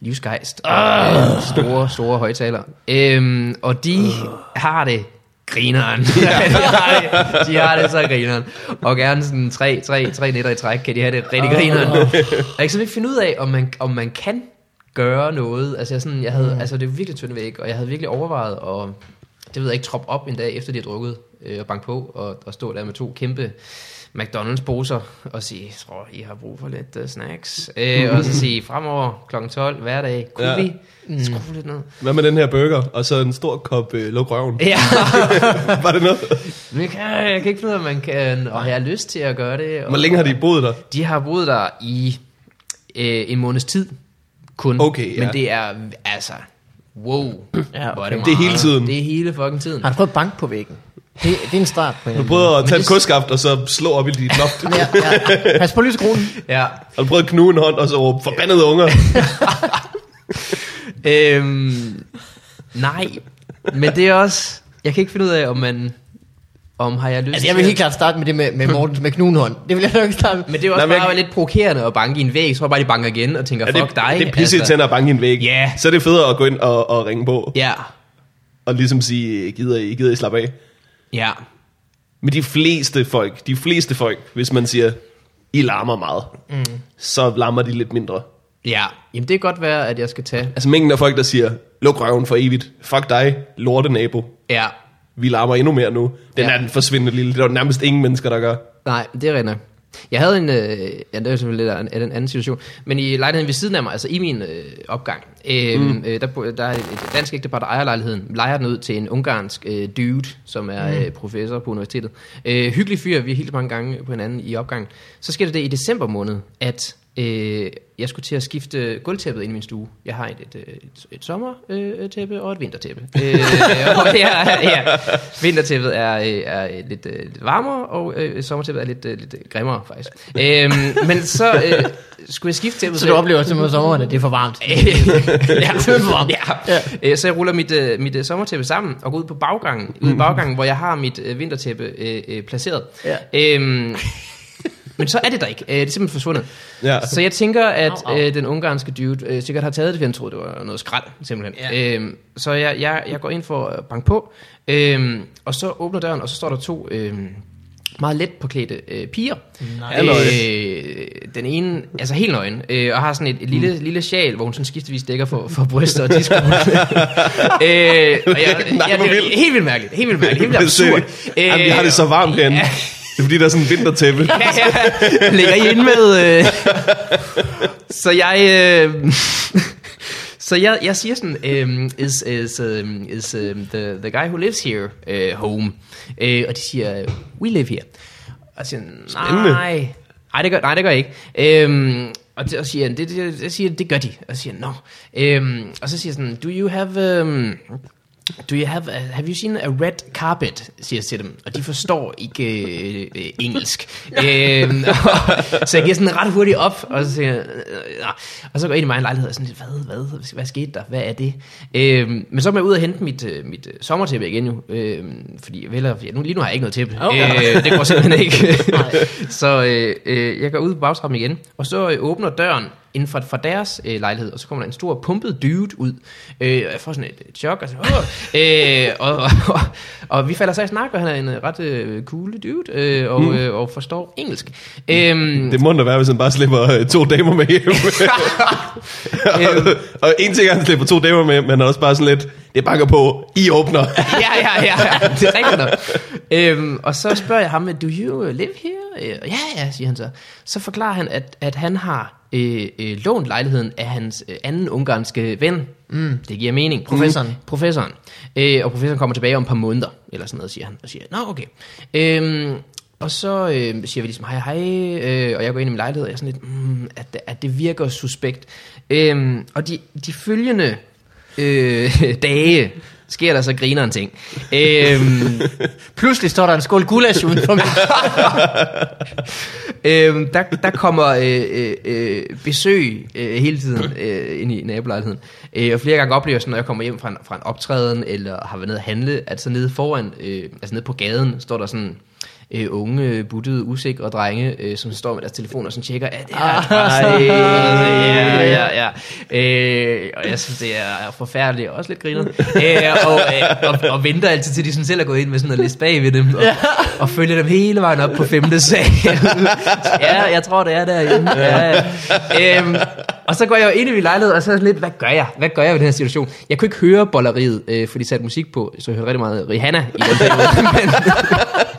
D: livsgejst og øh, store, store højtalere. Øh, og de har det grineren. de, har det, de har det så grineren. Og gerne sådan tre, tre, tre nætter i træk, kan de have det rigtig grineren. Og jeg kan simpelthen ikke finde ud af, om man, om man kan gøre noget. Altså, jeg, sådan, jeg havde,
B: Mm.
D: altså det var virkelig tynd væg, og jeg havde virkelig overvejet at, det ved jeg ikke, troppe op en dag efter de har drukket øh, og banke på, og, og stå der med to kæmpe McDonald's-poser og sige, jeg tror, I har brug for lidt uh, snacks. Øh, og så sige, fremover kl. 12 hver dag, kunne
B: Ja. Mm.
D: ja. vi skrue lidt ned?
B: Hvad med den her burger, og så en stor kop øh, luk røven?
D: Ja,
B: *laughs* Var det noget?
D: *laughs* men jeg kan, jeg kan ikke finde ud af, om man kan, og jeg har lyst til at gøre det. Og
B: Hvor længe har de boet der?
D: De har boet der i øh, en måneds tid kun.
B: Okay, ja.
D: Men det er, altså, wow. Ja, okay.
B: Det er hele tiden.
D: Det er hele fucking tiden.
A: Har du prøvet bank på væggen? Det, det er en start på en
B: Du prøvede at tage et kudskaft, og så slå op i dit loft.
A: Ja, ja. Pas på
D: *laughs*
A: lysekronen.
D: Ja.
B: Har du prøvet at knuge en hånd, og så råbe, forbandede unger?
D: Øhm, nej, men det er også... Jeg kan ikke finde ud af, om man... Om har jeg lyst
A: Altså jeg vil
D: til
A: helt
D: at-
A: klart starte med det med, med Mortens med knudenhånd. Det vil jeg nok starte med.
D: Men det er jo også
B: Nej, men
D: bare
B: jeg-
D: lidt provokerende at banke i en væg. Så tror jeg bare, de banker igen og tænker,
B: Er
D: fuck
B: det,
D: dig.
B: det er pisse altså. at banke i en væg.
D: Ja.
B: Så er det federe at gå ind og, og ringe på,
D: Ja,
B: og ligesom sige, øh, gider I, gider I slappe af?
D: ja.
B: Men de fleste folk, de fleste folk, hvis man siger, I larmer meget, mm. så larmer de lidt mindre.
D: Ja, jamen det kan godt være, at jeg skal tage...
B: Altså mængden af folk, der siger, luk røven for evigt, fuck dig, lorte nabo,
D: Ja,
B: vi larmer endnu mere nu. Den
D: Ja.
B: ja. er den forsvindende lille, det er der jo nærmest ingen mennesker, der gør.
D: nej, det er rigtigt nok. Jeg havde en, øh, ja, det er selvfølgelig lidt af en, af en anden situation, men i lejligheden ved siden af mig, altså i min øh, opgang, øh, mm. øh, der, bo- der er et dansk ægtepar, der ejer lejligheden, lejer den ud til en ungarsk øh, dude, som er mm. øh, professor på universitetet. Øh, hyggelig fyr, vi har hilst mange gange på hinanden i opgangen. Så sker der det i december måned, at Øh, jeg skulle til at skifte gulvtæppet ind i min stue. Jeg har et, et, øh, et, et sommertæppe og et vintertæppe.
A: *laughs*
D: Øh, og det er, ja, vintertæppet er, øh, er øh, lidt, øh, lidt varmere, og øh, sommertæppet er lidt, øh, lidt øh, grimmere faktisk. Øh, men så øh, skulle jeg skifte tæppet.
A: Så du oplever simpelthen om sommeren, at det er for *laughs* varmt.
D: ja,
A: det er for varmt.
D: Ja. Øh, Så jeg ruller mit, øh, mit øh, sommertæppe sammen og går ud på baggangen, ud i baggangen, hvor jeg har mit øh, vintertæppe øh, øh, placeret.
A: Ja.
D: Øhm, *laughs* men så er det der ikke. Øh, Det er simpelthen forsvundet.
B: Ja.
D: Så jeg tænker, at
A: Au, au.
D: øh, den ungarske dude øh, sikkert har taget det, fordi han troede, det var noget skrald, simpelthen.
A: Ja.
D: Øhm, så jeg, jeg, jeg går ind for at banke på, øhm, og så åbner døren, og så står der to øhm, meget let påklædte øh, piger.
B: Halløj.
D: Øh, den ene, altså helt nøgen, øh, og har sådan et, et lille, mm. lille sjal, hvor hun sådan skiftevis dækker for, for bryster og
B: *laughs*
D: disko. øh, og jeg,
B: Nej, hvor
D: det er
B: vildt.
D: helt vildt mærkeligt, helt vildt mærkeligt, helt
B: *laughs*
D: vildt absurd. Øh,
B: Jamen, jeg har det så varmt herinde.
D: Ja.
B: Det er fordi, der er sådan en vintertæppe.
D: Ja, ja. *laughs* Ligger I inde med... Øh. Så jeg... Øh. *laughs* Så jeg, jeg siger sådan, um, is, is, um, is um, the, the guy who lives here uh, home? Uh, og de siger, we live here. Og jeg siger,
B: Spændende.
D: nej, nej, det gør, nej, det gør jeg ikke. Um, og, det, og siger, han, det, det, jeg siger, det gør de. Og jeg siger, no. Um, og så siger jeg sådan, do you have... Um, Do you have a, have you seen a red carpet? siger jeg til dem, og de forstår ikke øh, øh, engelsk. øhm, *laughs* og, så jeg giver sådan ret hurtigt op, og så, siger, jeg, øh, nå. og så går jeg ind i min egen lejlighed og sådan, hvad, hvad, hvad skete der? Hvad er det? Øhm, men så må jeg ud og hente mit, øh, mit øh, sommertæppe igen jo, øhm, fordi jeg vælger, ja, nu, lige nu har jeg ikke noget tæppe.
A: Oh.
D: Øh, det går simpelthen ikke.
A: Nej.
D: så øh, øh, jeg går ud på bagtrappen igen, og så øh, åbner døren inden for, for deres øh, lejlighed, og så kommer der en stor pumpet dude ud. Øh, og jeg får sådan et, et chok, og, så, "Åh!" øh, og, og, og, og vi falder så i snak, og han er en øh, ret øh, cool dude, øh, og, øh, og forstår engelsk. Øhm,
B: Det må da være, hvis han bare slipper øh, to damer med hjem.
D: *laughs*
B: og,
D: Øhm.
B: og en ting er, at han slipper to damer med, men han er også bare sådan lidt, det banker på, I åbner. *laughs*
D: ja, *laughs* ja, ja, ja, det er rigtigt nok. Øhm, og så spørger jeg ham, do you øh, live here? Øh, ja, ja, siger han så. Så forklarer han, at, at han har øh, øh, lånt lejligheden af hans øh, anden ungarske ven. Mm. Det giver mening.
A: Professoren.
D: Mm. Professoren. Øh, og professoren kommer tilbage om et par måneder, eller sådan noget, siger han. Og siger, nå, okay. Øhm, og så øh, siger vi ligesom hej hej, øh, og jeg går ind i min lejlighed, og jeg er sådan lidt, mm, at, det- at det virker suspekt. Øhm, og de, de følgende øh, *laughs* dage sker der så griner en ting. Øhm,
A: Pludselig står der en skål gulasch uden for mig.
D: øhm, der, der kommer øh, øh, øh, besøg øh, hele tiden øh, ind i nabolejligheden. Øh, og flere gange oplever jeg sådan, når jeg kommer hjem fra en, fra en optræden, eller har været nede at handle, at så nede foran, øh, altså nede på gaden, står der sådan øh, unge, øh, buttede, usikre drenge, øh, som står med deres telefoner og sådan tjekker, at det er et par, øh, ja, ja, ja. Øh, og jeg synes, det er forfærdeligt, og også lidt griner. Øh, og, øh, og, og, venter altid til, de sådan selv er gået ind med sådan en liste bag ved dem, og, og følger dem hele vejen op på femte sag. ja, jeg tror, det er derinde. Ja. ja. Øhm, og så går jeg jo ind i min lejlighed, og så er jeg sådan lidt, hvad gør jeg? Hvad gør jeg ved den her situation? Jeg kunne ikke høre bolleriet, øh, fordi de satte musik på, så jeg hørte rigtig meget Rihanna i den periode. Men,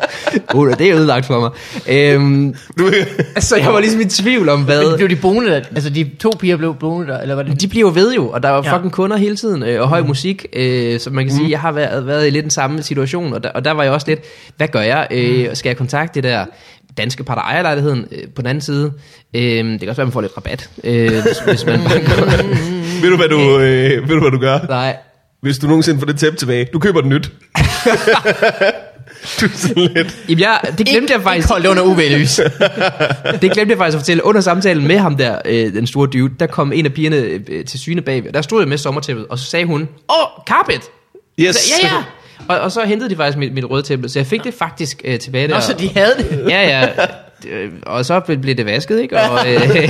D: *laughs* uh, det er ødelagt for mig. Øhm,
B: Du, *laughs*
D: så jeg var ligesom i tvivl om, hvad...
A: Men blev de boende der? Altså, de to piger blev boende der, eller var det...
D: De bliver jo ved jo, og der er
A: Ja.
D: ja. fucking kunder hele tiden, øh, og høj musik, øh, så man kan sige, jeg har været, været i lidt den samme situation, og der, og der var jeg også lidt, hvad gør jeg? Øh, skal jeg kontakte det der danske par, der ejer lejligheden øh, på den anden side? Øh, det kan også være, man får lidt rabat, øh, hvis, hvis man banker.
B: ved, du, hvad du, øh, ved du, hvad du gør?
D: Nej.
B: Hvis du nogensinde får det tæppe tilbage, du køber det nyt. *laughs* du er sådan lidt,
D: Jamen, jeg, det glemte jeg faktisk.
A: Holdt under UV-lys.
D: *laughs* det glemte jeg faktisk at fortælle. Under samtalen med ham der, øh, den store dude, der kom en af pigerne øh, til syne bagved. og Der stod jeg med sommertæppet, og så sagde hun, åh, oh, carpet!
B: yes.
D: Så, ja, ja. Og, og så hentede de faktisk mit, mit røde tæppe, så jeg fik det faktisk øh, tilbage der.
A: Nå, så de havde det.
D: Ja, ja. Øh, Og så ble- blev det vasket, ikke? Og, øh, *laughs*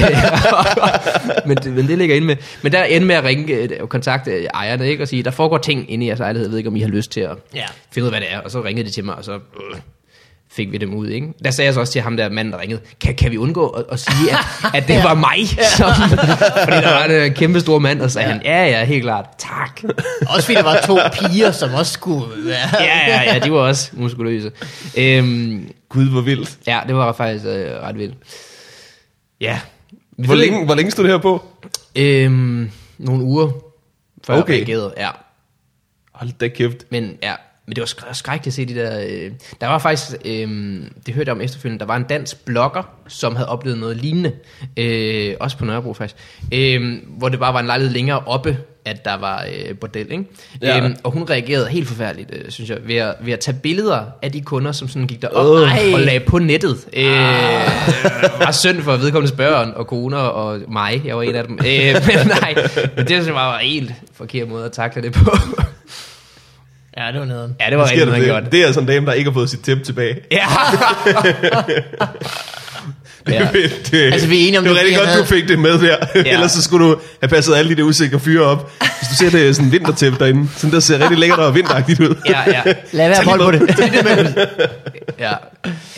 D: men, det- men det ligger inde med. Men der endte med at ringe, øh, kontakte øh, ejerne, ikke? Og sige, der foregår ting inde i jeres lejlighed. Jeg ved ikke, om I har lyst til at
A: Ja.
D: finde ud af, hvad det er. Og så ringede de til mig, og så... Øh, fik vi dem ud, ikke? Der sagde jeg så også til ham der manden, der ringede, kan, kan vi undgå at, at sige, at,
A: *laughs*
D: at det var mig? Som, *laughs* fordi der var en øh, kæmpe stor mand, og så sagde han, ja, ja, helt klart, tak.
A: Også fordi der var to piger, som også skulle være...
D: *laughs* Ja, ja, ja, de var også muskuløse. Øhm,
B: Gud, hvor vildt.
D: Ja, det var faktisk øh, ret vildt. Ja.
B: Hvor længe, hvor længe stod det her på?
D: Øhm, nogle uger før okay.
B: Okay.
D: jeg reagerede, ja.
B: Hold da kæft.
D: Men ja, Men det var skr- skrækkeligt at se de der... Øh, der var faktisk, øh, det hørte jeg om efterfølgende, der var en dansk blogger, som havde oplevet noget lignende. Øh, også på Nørrebro faktisk. Øh, hvor det bare var en lejlighed længere oppe, at der var øh, bordel, ikke?
B: Ja.
D: Ja. Øhm, og hun reagerede helt forfærdeligt, øh, synes jeg, ved at, ved at tage billeder af de kunder, som sådan gik derop
A: Åh.
D: øh. og lagde på nettet. Øh, var synd for vedkommendes børn og koner og mig, jeg var en af dem. Øh, men nej, men det synes jeg bare var en helt forkert måde at takle det på.
A: Ja, det var noget.
D: ja, det
B: Hvad
D: var
B: sker
D: rigtig,
B: der
D: rigtig
B: det?
D: godt.
B: det er altså en dame, der ikke har fået sit tip tilbage.
D: Ja. ja.
B: *laughs* det,
A: Altså, vi er enige om,
B: det var
A: det,
B: rigtig
A: vi
B: godt,
A: havde-
B: du fik det med der. Ja. *laughs* Ellers så skulle du have passet alle de der usikre fyre op. Hvis du ser det sådan en vintertæppe derinde, sådan der ser rigtig lækkert og vinteragtigt ud.
D: Ja,
B: *laughs*
D: ja.
A: Lad være at holde på det.
D: *laughs*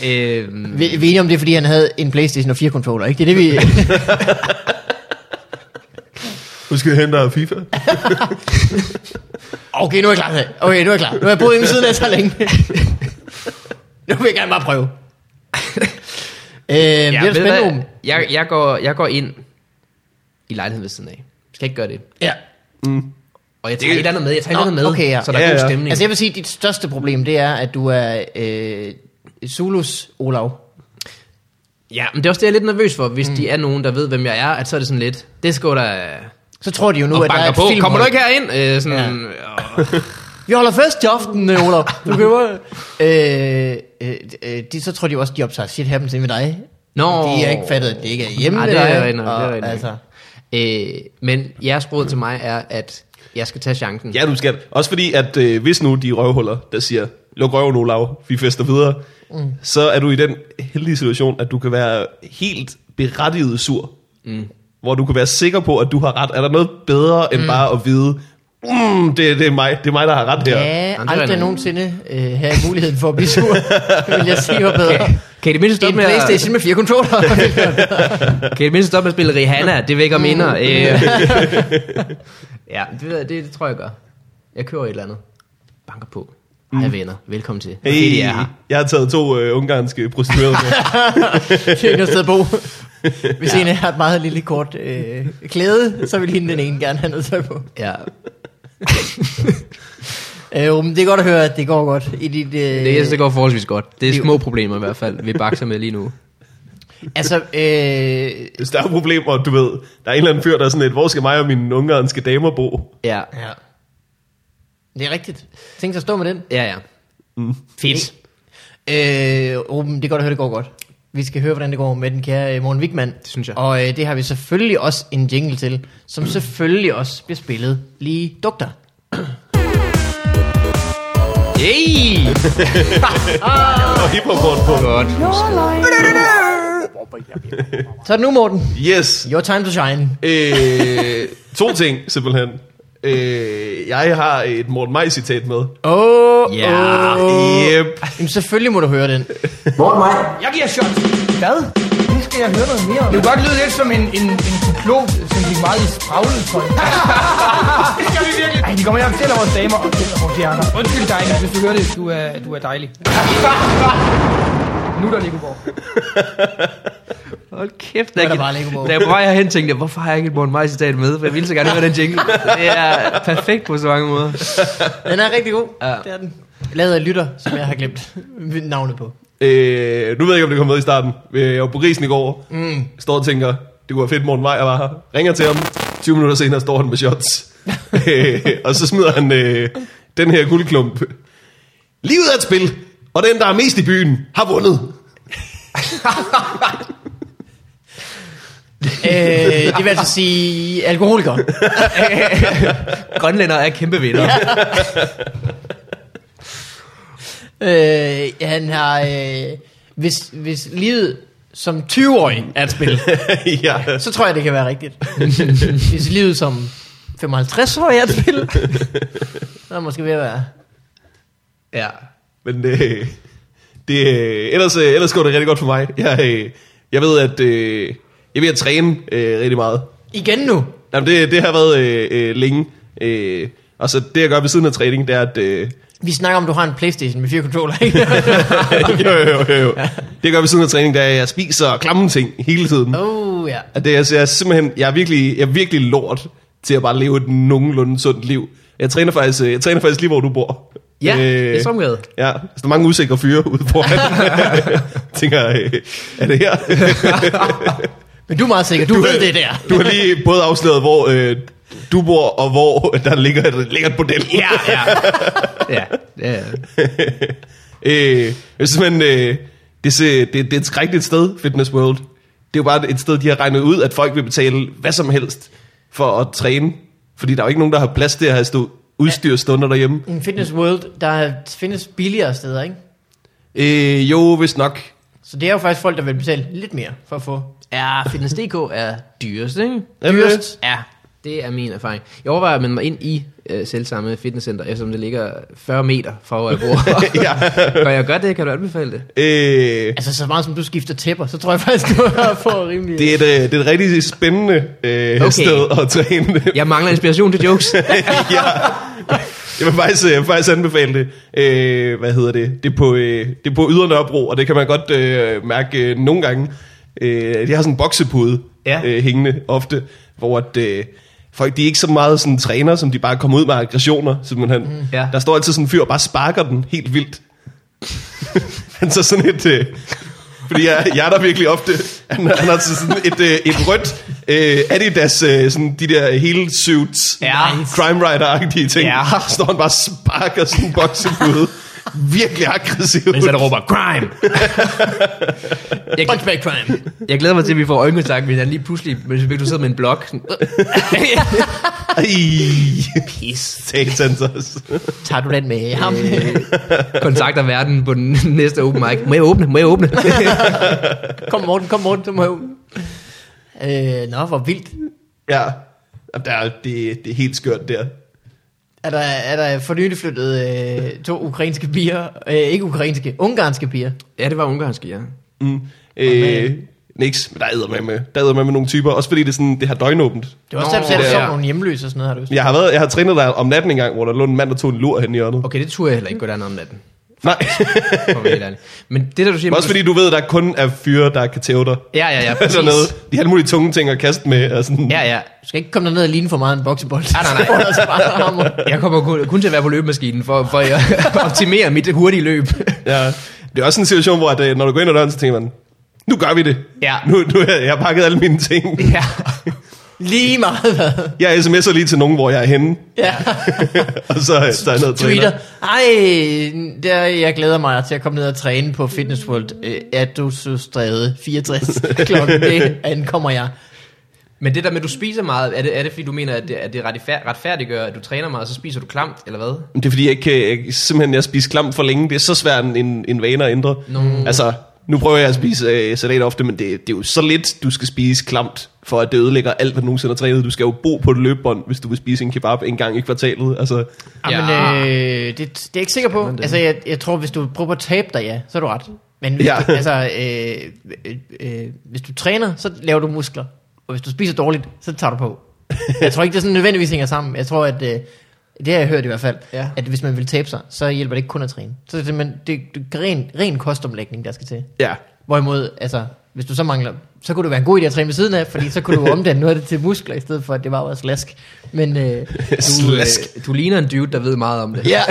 D: ja. Øhm,
A: Vi, vi er enige om det, er, fordi han havde en Playstation og fire controller, ikke? Det er det, vi...
B: Husk at hente dig FIFA.
A: Okay, nu er jeg klar. Okay, nu er jeg klar. Nu har jeg boet inde siden af så
D: *laughs*
A: længe. nu vil jeg gerne bare prøve. øh, ja, det er da
D: ved du hvad?
A: spændende.
D: Jeg, jeg, går, jeg går ind i lejligheden ved siden af. Skal ikke gøre det.
A: Ja.
D: Og jeg tager et eller andet med, jeg tager et
A: Nå,
D: eller andet med,
A: okay, ja.
D: så der er
B: Ja,
D: god
B: ja.
D: stemning.
A: Altså, jeg vil sige, at dit største problem, det er, at du er øh, Zulus Olav.
D: Ja, men det er også det, jeg er lidt nervøs for, hvis mm. de er nogen, der ved, hvem jeg er, at så er det sådan lidt, det skal da...
A: Så tror de jo nu,
D: Nu og
A: at der er
D: banker
A: et
D: på,
A: film.
D: kommer du ikke herind? Øh, sådan, ja.
A: Vi holder fest i aften, øh,
D: *laughs*
A: Olav. Du kan bare... øh, øh, øh, de, så tror de jo også, de optager shit happens inde ved dig.
D: Nå.
A: De har ikke fattet, at det ikke er *laughs* hjemme
D: Ej,
A: ved
D: det er
A: dig.
D: rigtigt, det er
A: og
D: rigtigt.
A: Altså,
D: øh, men jeres råd til mig er, at jeg skal tage chancen.
B: Ja, du skal. Også fordi, at øh, hvis nu de røvhuller, der siger, luk røven, Olav, vi fester videre, mm. så er du i den heldige situation, at du kan være helt berettiget sur. Mm. Hvor du kan være sikker på, at du har ret. Er der noget bedre, end mm. bare at vide, mm, det, det, er mig, det er mig, der har ret her.
A: ja,
D: rigtigt.
A: aldrig nogensinde øh, have muligheden for at blive sur, vil jeg sige, var bedre.
D: Kan, kan I det mindste
A: En
D: stoppe med, at,
A: Playstation med fire controller.
D: kan I det mindste stoppe med at spille Rihanna? Det vækker minder. *laughs* Øh. ja, det, ved jeg- det, det, tror jeg, jeg gør. Jeg kører et eller andet. Banker på. Hej venner, velkommen til. Mm. Hey.
B: Hey,
D: Det er her.
B: jeg har taget to øh, ungarske prostituerede med.
A: Det er ikke noget sted at bo. Hvis ja. en af jer har et meget lille kort øh, klæde, så vil hende den ene gerne have noget tøj på.
D: Ja.
A: Øh, men det er godt at høre, at det går godt. I dit, øh,
D: Det, jeg synes, det går forholdsvis godt. Det er små problemer i hvert fald, vi bakser med lige nu.
A: Altså, øh,
B: Hvis der er problemer, du ved, der er en eller anden fyr, der er sådan et, hvor skal mig og mine ungarske damer bo?
D: Ja.
A: ja. det er rigtigt. Tænk sig at stå med den.
D: Ja, ja. Mm. Fedt.
A: Øh, Ruben, det er godt at høre, det går godt. Vi skal høre, hvordan det går med den kære øh, Morten Wigman. Det
D: synes jeg.
A: Og øh, det har vi selvfølgelig også en jingle til, som selvfølgelig også bliver spillet lige dugter.
D: Hey!
B: Og hiphop på.
D: Godt.
A: Så er det nu, Morten.
B: Yes.
A: Your time to shine.
B: Øh, to ting, simpelthen. Øh, jeg har et Morten Maj-citat med.
A: Åh,
D: Ja.
A: åh.
B: Yep.
A: Jamen, selvfølgelig må du høre den.
C: Morgen mig.
E: Jeg giver shot. Hvad? Nu skal jeg høre noget mere. Det kunne godt lyde lidt som en, en, en kuklot, som gik meget i *laughs* spraglet tøj. det skal vi virkelig. Ej, de kommer hjem og fortæller vores damer og fortæller vores hjerner. Undskyld dig, Nick, hvis du hører det. Du er, du er dejlig. nu er der Nicoborg.
D: Hold kæft,
A: er
D: der
A: der bare Lego Borg.
D: Da jeg på vej herhen tænkte, jeg, hvorfor har jeg ikke et Morten Maj citat med? For jeg ville så gerne høre den jingle. Det er perfekt på så mange måder.
A: Den er rigtig god.
D: Ja.
A: Det er den. Lavet af lytter, som jeg har glemt *laughs* navnet på.
B: Øh, nu ved jeg ikke, om det kom med i starten. Øh, Jeg var på risen i går. Mm. Står og tænker, det kunne være fedt, Morten Maj var her. Ringer til ham. 20 minutter senere står han med shots. øh, og så smider han øh, den her guldklump. Livet er et spil, og den, der er mest i byen, har vundet. *laughs*
A: øh, det vil altså sige alkoholiker. *laughs*
D: Grønlænder er kæmpe vinder.
A: øh, han har... Øh, hvis, hvis livet som 20-årig er et spil,
B: ja.
A: så tror jeg, det kan være
B: *laughs*
A: rigtigt. hvis livet som 55-årig er et spil, så er det måske ved at være...
D: Ja.
B: Men øh, det, øh, ellers, øh, ellers går det rigtig godt for mig. Jeg, øh, jeg ved, at øh, jeg ved at træne øh, rigtig meget.
A: Igen nu.
B: Jamen, det, det har været øh, øh, længe. Øh, og så det, jeg gør ved siden af træning, det er, at... Øh, *laughs*
A: Vi snakker om, du har en Playstation med fire controller, ikke?
B: jo, jo, jo, jo. Det, jeg gør ved siden af træning, det er, at jeg spiser klamme ting hele tiden.
A: oh, ja.
B: At det, altså, jeg er simpelthen, jeg er virkelig, jeg er virkelig lort til at bare leve et nogenlunde sundt liv. Jeg træner faktisk, øh, jeg træner faktisk lige, hvor du bor.
D: Ja,
B: Øh,
D: det er Stormgade.
B: Ja, så der er mange usikre fyre ude
D: *laughs*
B: foran. *laughs* Tænker, øh, er det her?
A: Men du er meget sikker, du, du ved det der.
B: Du har lige både afsløret, hvor øh, du bor, og hvor der ligger et lækkert bordel.
D: Ja, ja. ja, ja, ja.
B: *laughs* Øh, jeg synes, men, øh, det, ser- det, det er et skrækkeligt sted, Fitness World. Det er jo bare et sted, de har regnet ud, at folk vil betale hvad som helst for at træne. Fordi der er jo ikke nogen, der har plads til at have stå udstyrsstunder derhjemme.
A: En fitness world, der findes billigere steder, ikke?
B: Øh, jo, hvis nok.
A: Så det er jo faktisk folk, der vil betale lidt mere for at få.
D: Ja, Fitness.dk er dyrest, ikke?
B: Er det
A: Dyrest.
D: Ja, det er min erfaring. Jeg overvejer at melde mig ind i øh, selv samme fitnesscenter, eftersom det ligger 40 meter fra, hvor jeg
B: *laughs*
D: bor.
B: ja.
D: Gør jeg godt det? Kan du anbefale det?
B: øh,
A: Altså så meget som du skifter tæpper, så tror jeg faktisk, du har fået rimelig...
B: det, er et, øh, det er et rigtig spændende øh, okay.
D: Okay.
B: sted at træne.
D: Jeg mangler inspiration til jokes.
B: *laughs* ja. Jeg vil faktisk, jeg vil faktisk anbefale det. Øh, hvad hedder det? Det er på, øh, det er på Ydre Nørrebro, og det kan man godt øh, mærke øh, nogle gange. Øh, de har sådan en boksepude ja.
D: Ja.
B: øh, hængende ofte, hvor at, øh, folk de er ikke så meget sådan træner, som de bare kommer ud med aggressioner. Simpelthen. Mm.
D: Ja.
B: Der står altid sådan en fyr og bare sparker den helt vildt. *laughs* han så sådan et... Øh, fordi jeg, jeg er der virkelig ofte. Han, han har sådan et, øh, et rødt øh, Adidas, øh, sådan de der hele suits,
D: Ja.
B: crime rider-agtige ting. Ja.
D: Ja.
B: *laughs* Står han bare og sparker sådan en
D: *laughs*
B: boksepude. Virkelig aggressivt.
D: Men så der råber,
A: *laughs*
D: crime! jeg,
A: Fuck back
B: *laughs*
A: crime.
D: jeg glæder mig til, at vi får øjenkontakt med hinanden lige pludselig, mens vi- du sidder med en blok. Sådan,
B: Ej,
A: Pis.
B: satans også.
A: Tager du den med ham?
B: Øh,
D: kontakter verden på den næste open mic. Må jeg åbne? Må jeg
B: *laughs*
D: åbne?
A: kom Morten, kom Morten, du må jo... Øh, nå, hvor vildt.
B: Ja, Jamen, der, er- det, det er helt skørt der.
A: Er der, er der for nylig flyttet øh, to ukrainske piger, øh, ikke ukrainske, ungarske piger.
D: ja, det var ungarsk, ja.
B: Mm. Øh, Niks, men der æder med med, der æder med med nogle typer, også fordi det, er sådan, det har døgnåbent.
A: Det var også
D: Nå,
A: derfor, at der
D: det
A: så
D: er-
A: nogle hjemløse og sådan noget, har du lyst
B: Jeg har, været, jeg har trænet der om natten en gang, hvor der lå en mand, der tog en lur hen i hjørnet.
D: Okay, det turde jeg heller ikke gå derned om natten.
B: Nej, *laughs*
D: for at være helt ærlig. Men det der, du siger...
B: også fordi du ved, der kun er fyre, der kan tæve dig.
D: Ja, ja,
A: *laughs*
D: ja, præcis.
B: Sådan noget. De har alle mulige tunge ting at kaste med. Og sådan.
D: Ja, ja.
A: Du skal ikke komme derned og ligne for meget en boksebold. *laughs*
D: Nej, nej, nej.
A: Så får du altså bare hammer.
D: Jeg kommer kun, kun til at være på løbemaskinen for, for at optimere mit hurtige løb.
B: Ja. Det er også en situation, hvor at, øh, når du går ind ad døren, så tænker man, nu gør vi det.
D: Ja.
B: Nu, nu har jeg har pakket alle mine ting.
D: ja.
A: Lige meget hvad.
B: Jeg sms'er lige til nogen, hvor jeg er
D: *laughs*
B: henne.
A: Ja.
B: og så øh, tager jeg ned og
A: Twitter.
B: træner.
A: Ej, der, jeg glæder mig til at komme ned og træne på Fitness World. Øh, Adosøstræde 64 *laughs* klokken. Det ankommer jeg.
D: Men det der med, at du spiser meget, er det, er det fordi, du mener, at det, at det retfærd- retfærdiggør, at du træner meget, og så spiser du klamt, eller hvad?
B: Men Det er fordi, jeg, kan, jeg simpelthen jeg spiser klamt for længe. Det er så svært en, en vane at ændre. No. Altså, nu prøver jeg at spise øh, salat ofte, men det, det er jo så lidt, du skal spise klamt, for at det ødelægger alt, hvad du nogensinde har trænet. Du skal jo bo på et løbebånd, hvis du vil spise en kebab en gang i kvartalet. Altså,
A: Jamen,
D: Ja.
A: ja. øh, det, det er jeg ikke sikker på.
D: det?
A: Altså, jeg, jeg tror, hvis du prøver at tabe dig, ja, så er du ret. Men hvis,
B: Ja.
A: ja. du, altså, øh, øh, øh, hvis du træner, så laver du muskler. Og hvis du spiser dårligt, så tager du på. Jeg tror ikke, det sådan nødvendigvis hænger sammen. Jeg tror, at... Øh, det har jeg hørt i hvert fald,
D: Ja.
A: ja. at hvis man vil tabe sig, så hjælper det ikke kun at træne. Så er det simpelthen det, det er ren, ren kostomlægning, der skal til.
B: ja.
A: Hvorimod, altså, hvis du så mangler, så kunne det være en god idé at træne ved siden af, fordi så kunne du omdanne noget af det til muskler, i stedet for, at det bare var slask. Men øh,
D: Du,
B: Slask.
D: øh, du ligner en dude, der ved meget om det. *laughs*
A: ja,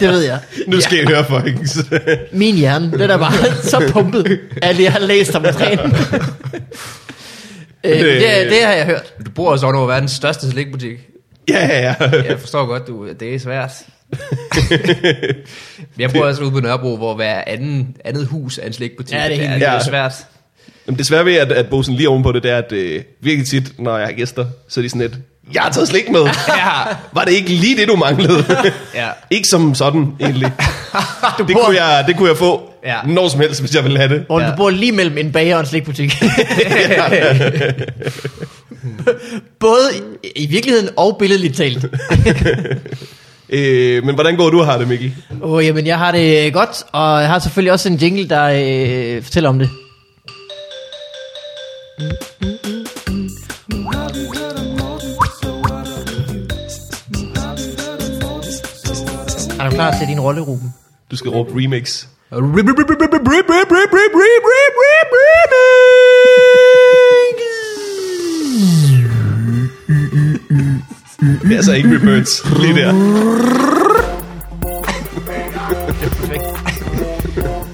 A: det ved jeg.
B: Nu skal jeg høre, folkens. *laughs*
A: Min hjerne, den er bare *laughs* så pumpet, at jeg har læst om træning. øh, det, det har jeg hørt.
D: Du bor også over verdens største slikbutik.
B: ja, ja, ja.
D: Jeg forstår godt, du, det er *laughs* svært. jeg bor også ude på Nørrebro, hvor hver anden, andet hus er en slikbutik.
A: Ja, det er helt
D: det er
B: vildt.
D: svært.
B: Jamen, det svære ved, at, at bosen lige ovenpå det, det er, at øh, virkelig tit, når jeg har gæster, så er de sådan lidt, jeg har taget slik med.
D: *laughs*
B: *laughs*
D: *laughs* Ja,
B: Var det ikke lige det, du manglede?
D: ja.
B: *laughs* ikke som sådan, *laughs* egentlig.
A: Du
B: Det
A: bor,
B: kunne jeg, det kunne jeg få ja.
D: Ja.
B: når som helst, hvis jeg ville have det.
A: Morten,
D: Ja.
A: du bor lige mellem en bager og en slikbutik. *laughs*
D: *laughs*
A: Både i, i virkeligheden og billedligt talt.
B: Øh, men hvordan går du og har det, Mikkel?
A: Åh, oh, jamen jeg har det godt, og jeg har selvfølgelig også en jingle, der øh, fortæller om det. Er du klar til din rolle, Ruben?
B: Du skal råbe remix. Det er altså ikke Rebirds, lige der.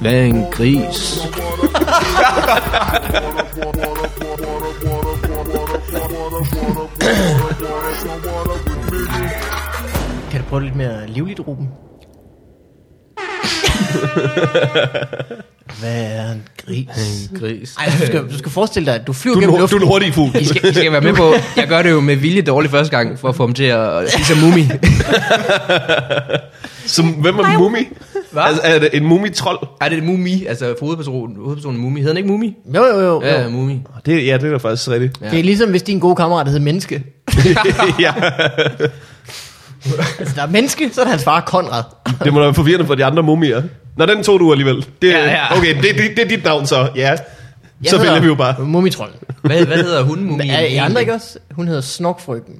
C: Hvad er en gris?
A: Kan du prøve lidt mere livligt, Ruben? Hvad er en gris?
D: En gris.
A: Ej, du skal, du skal forestille dig, at du flyver
B: Du, er
A: gennem
B: en- du
A: luften.
B: er en hurtig fugl.
D: I skal, I skal være med på, jeg gør det jo med vilje dårligt første gang, for at få ham til at sige som mumi.
B: Som, hvem er mumi?
D: Hvad?
B: Altså, er det en mumitrol?
D: Ej, det er mumi, altså for hovedpersonen, hovedpersonen mumi. Hedder han ikke mumi?
A: Jo, jo, jo.
D: Ja,
A: jo.
D: ja mumi.
B: Det, ja, det er da faktisk rigtigt.
A: Det er ligesom, hvis din gode kammerat hedder Menneske.
B: *laughs* ja,
A: Altså, der er Menneske, så er der hans far Konrad.
B: det må da være forvirrende for de andre mumier. Nå, den tog du alligevel. Det,
D: Ja, ja.
B: Okay, det, det, det er dit navn så. Ja, så
A: hedder
B: vælger vi jo bare.
A: Mumitrollen.
D: Hvad, hvad hedder hun mumi?
A: Er I andre ikke også? Hun hedder Snokfrygten.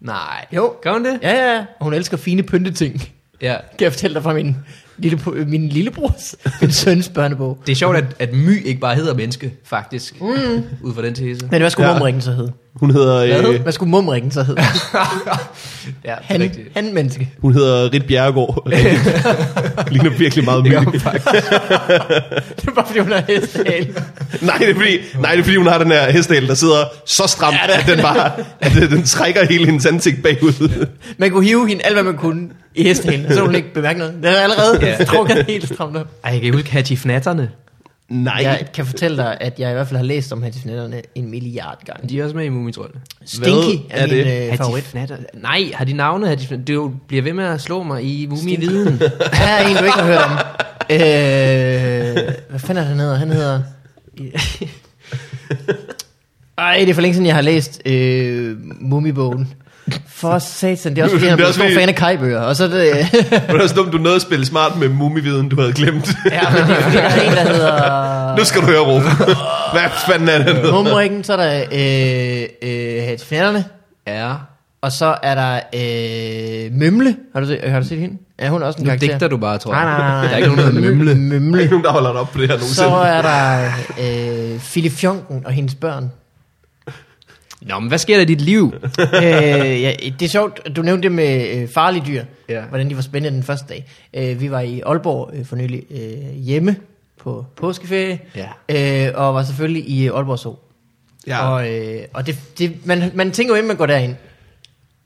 D: Nej.
A: Jo.
D: Gør hun det?
A: Ja, ja, ja. Og hun elsker fine pynteting. *laughs*
D: Ja.
A: Kan jeg fortælle dig fra min, lille, øh, min lillebrors, min søns børnebog.
D: Det er sjovt, at, at my ikke bare hedder menneske, faktisk. Mm. Ud fra
A: *laughs*
D: den tese.
A: Men hvad skulle
B: Ja.
A: ja. mumringen så hedde?
B: Hun hedder,
A: Hvad,
B: øh,
A: hvad skulle mumringen så
B: *laughs*
A: hedde?
D: Ja, det er
A: Han,
D: rigtigt.
A: han menneske. *laughs*
B: hun hedder Rit Bjerregaard. Ligner virkelig meget
D: Det gør
B: mumi.
D: hun faktisk.
A: Det er bare fordi, hun er hestehale.
B: Nej, det er fordi, nej, det er fordi hun har den her hestehale, der sidder så stramt, ja, at den bare at den- den trækker hele hendes ansigt bagud.
A: Man kunne hive hende alt, hvad man kunne i hestehalen, så ville hun ikke bemærke noget. Den er allerede
D: Ja.
A: ja. trukket helt stramt op.
D: Ej, jeg kan huske Hattie Fnatterne.
B: Nej.
A: Jeg kan fortælle dig, at jeg i hvert fald har læst om hans en milliard gange.
D: De er også med i Mumitrollene.
A: Stinky
B: Hvad
A: er,
B: er
A: min
B: det?
A: øh, favorit.
D: Fnatter? Nej, har de navne? Har de Fnatter? Du bliver ved med at slå mig i Mumi-viden.
A: Her er en, du ikke har hørt om. Øh, hvad fanden er han hedder? Han *laughs* hedder... Ej, det er for længe siden, jeg har læst øh, Mumibogen. For satan, det er også fordi,
B: Det er
A: han er blevet
B: også
A: stor
B: fordi-
A: fan af kajbøger. Og så *laughs* er det...
B: Det var også dumt, du nåede at spille smart med mumividen, du havde glemt.
A: Ja, men det er fordi, der er en, der hedder...
B: nu skal du høre råbe. Hvad fanden er det nu?
A: Mumrikken, så er der øh, øh, Hattifjernerne,
D: ja.
A: og så er der øh, Mømle. Har du, set, har du set hende? Ja, hun er også en
D: Nu
A: karakter.
D: digter du bare, tror jeg.
A: Nej, nej, nej, nej.
D: *laughs* Der er ikke nogen, der hedder Mømle. *laughs*
B: Der er
A: Mømle.
B: ikke nogen, der holder dig op på det her
A: Så
B: nogensinde.
A: er der øh, Filifjonken og hendes børn.
D: Nå, men hvad sker der i dit liv?
A: *laughs* øh, ja, det er sjovt, at du nævnte det med øh, farlige dyr,
D: Ja.
A: ja. hvordan de var spændende den første dag. Øh, vi var i Aalborg øh, for nylig øh, hjemme på påskeferie, øh, og var selvfølgelig i Aalborg Zoo.
B: Ja.
A: Og, øh, og det, det, man, man tænker jo, inden man går derind,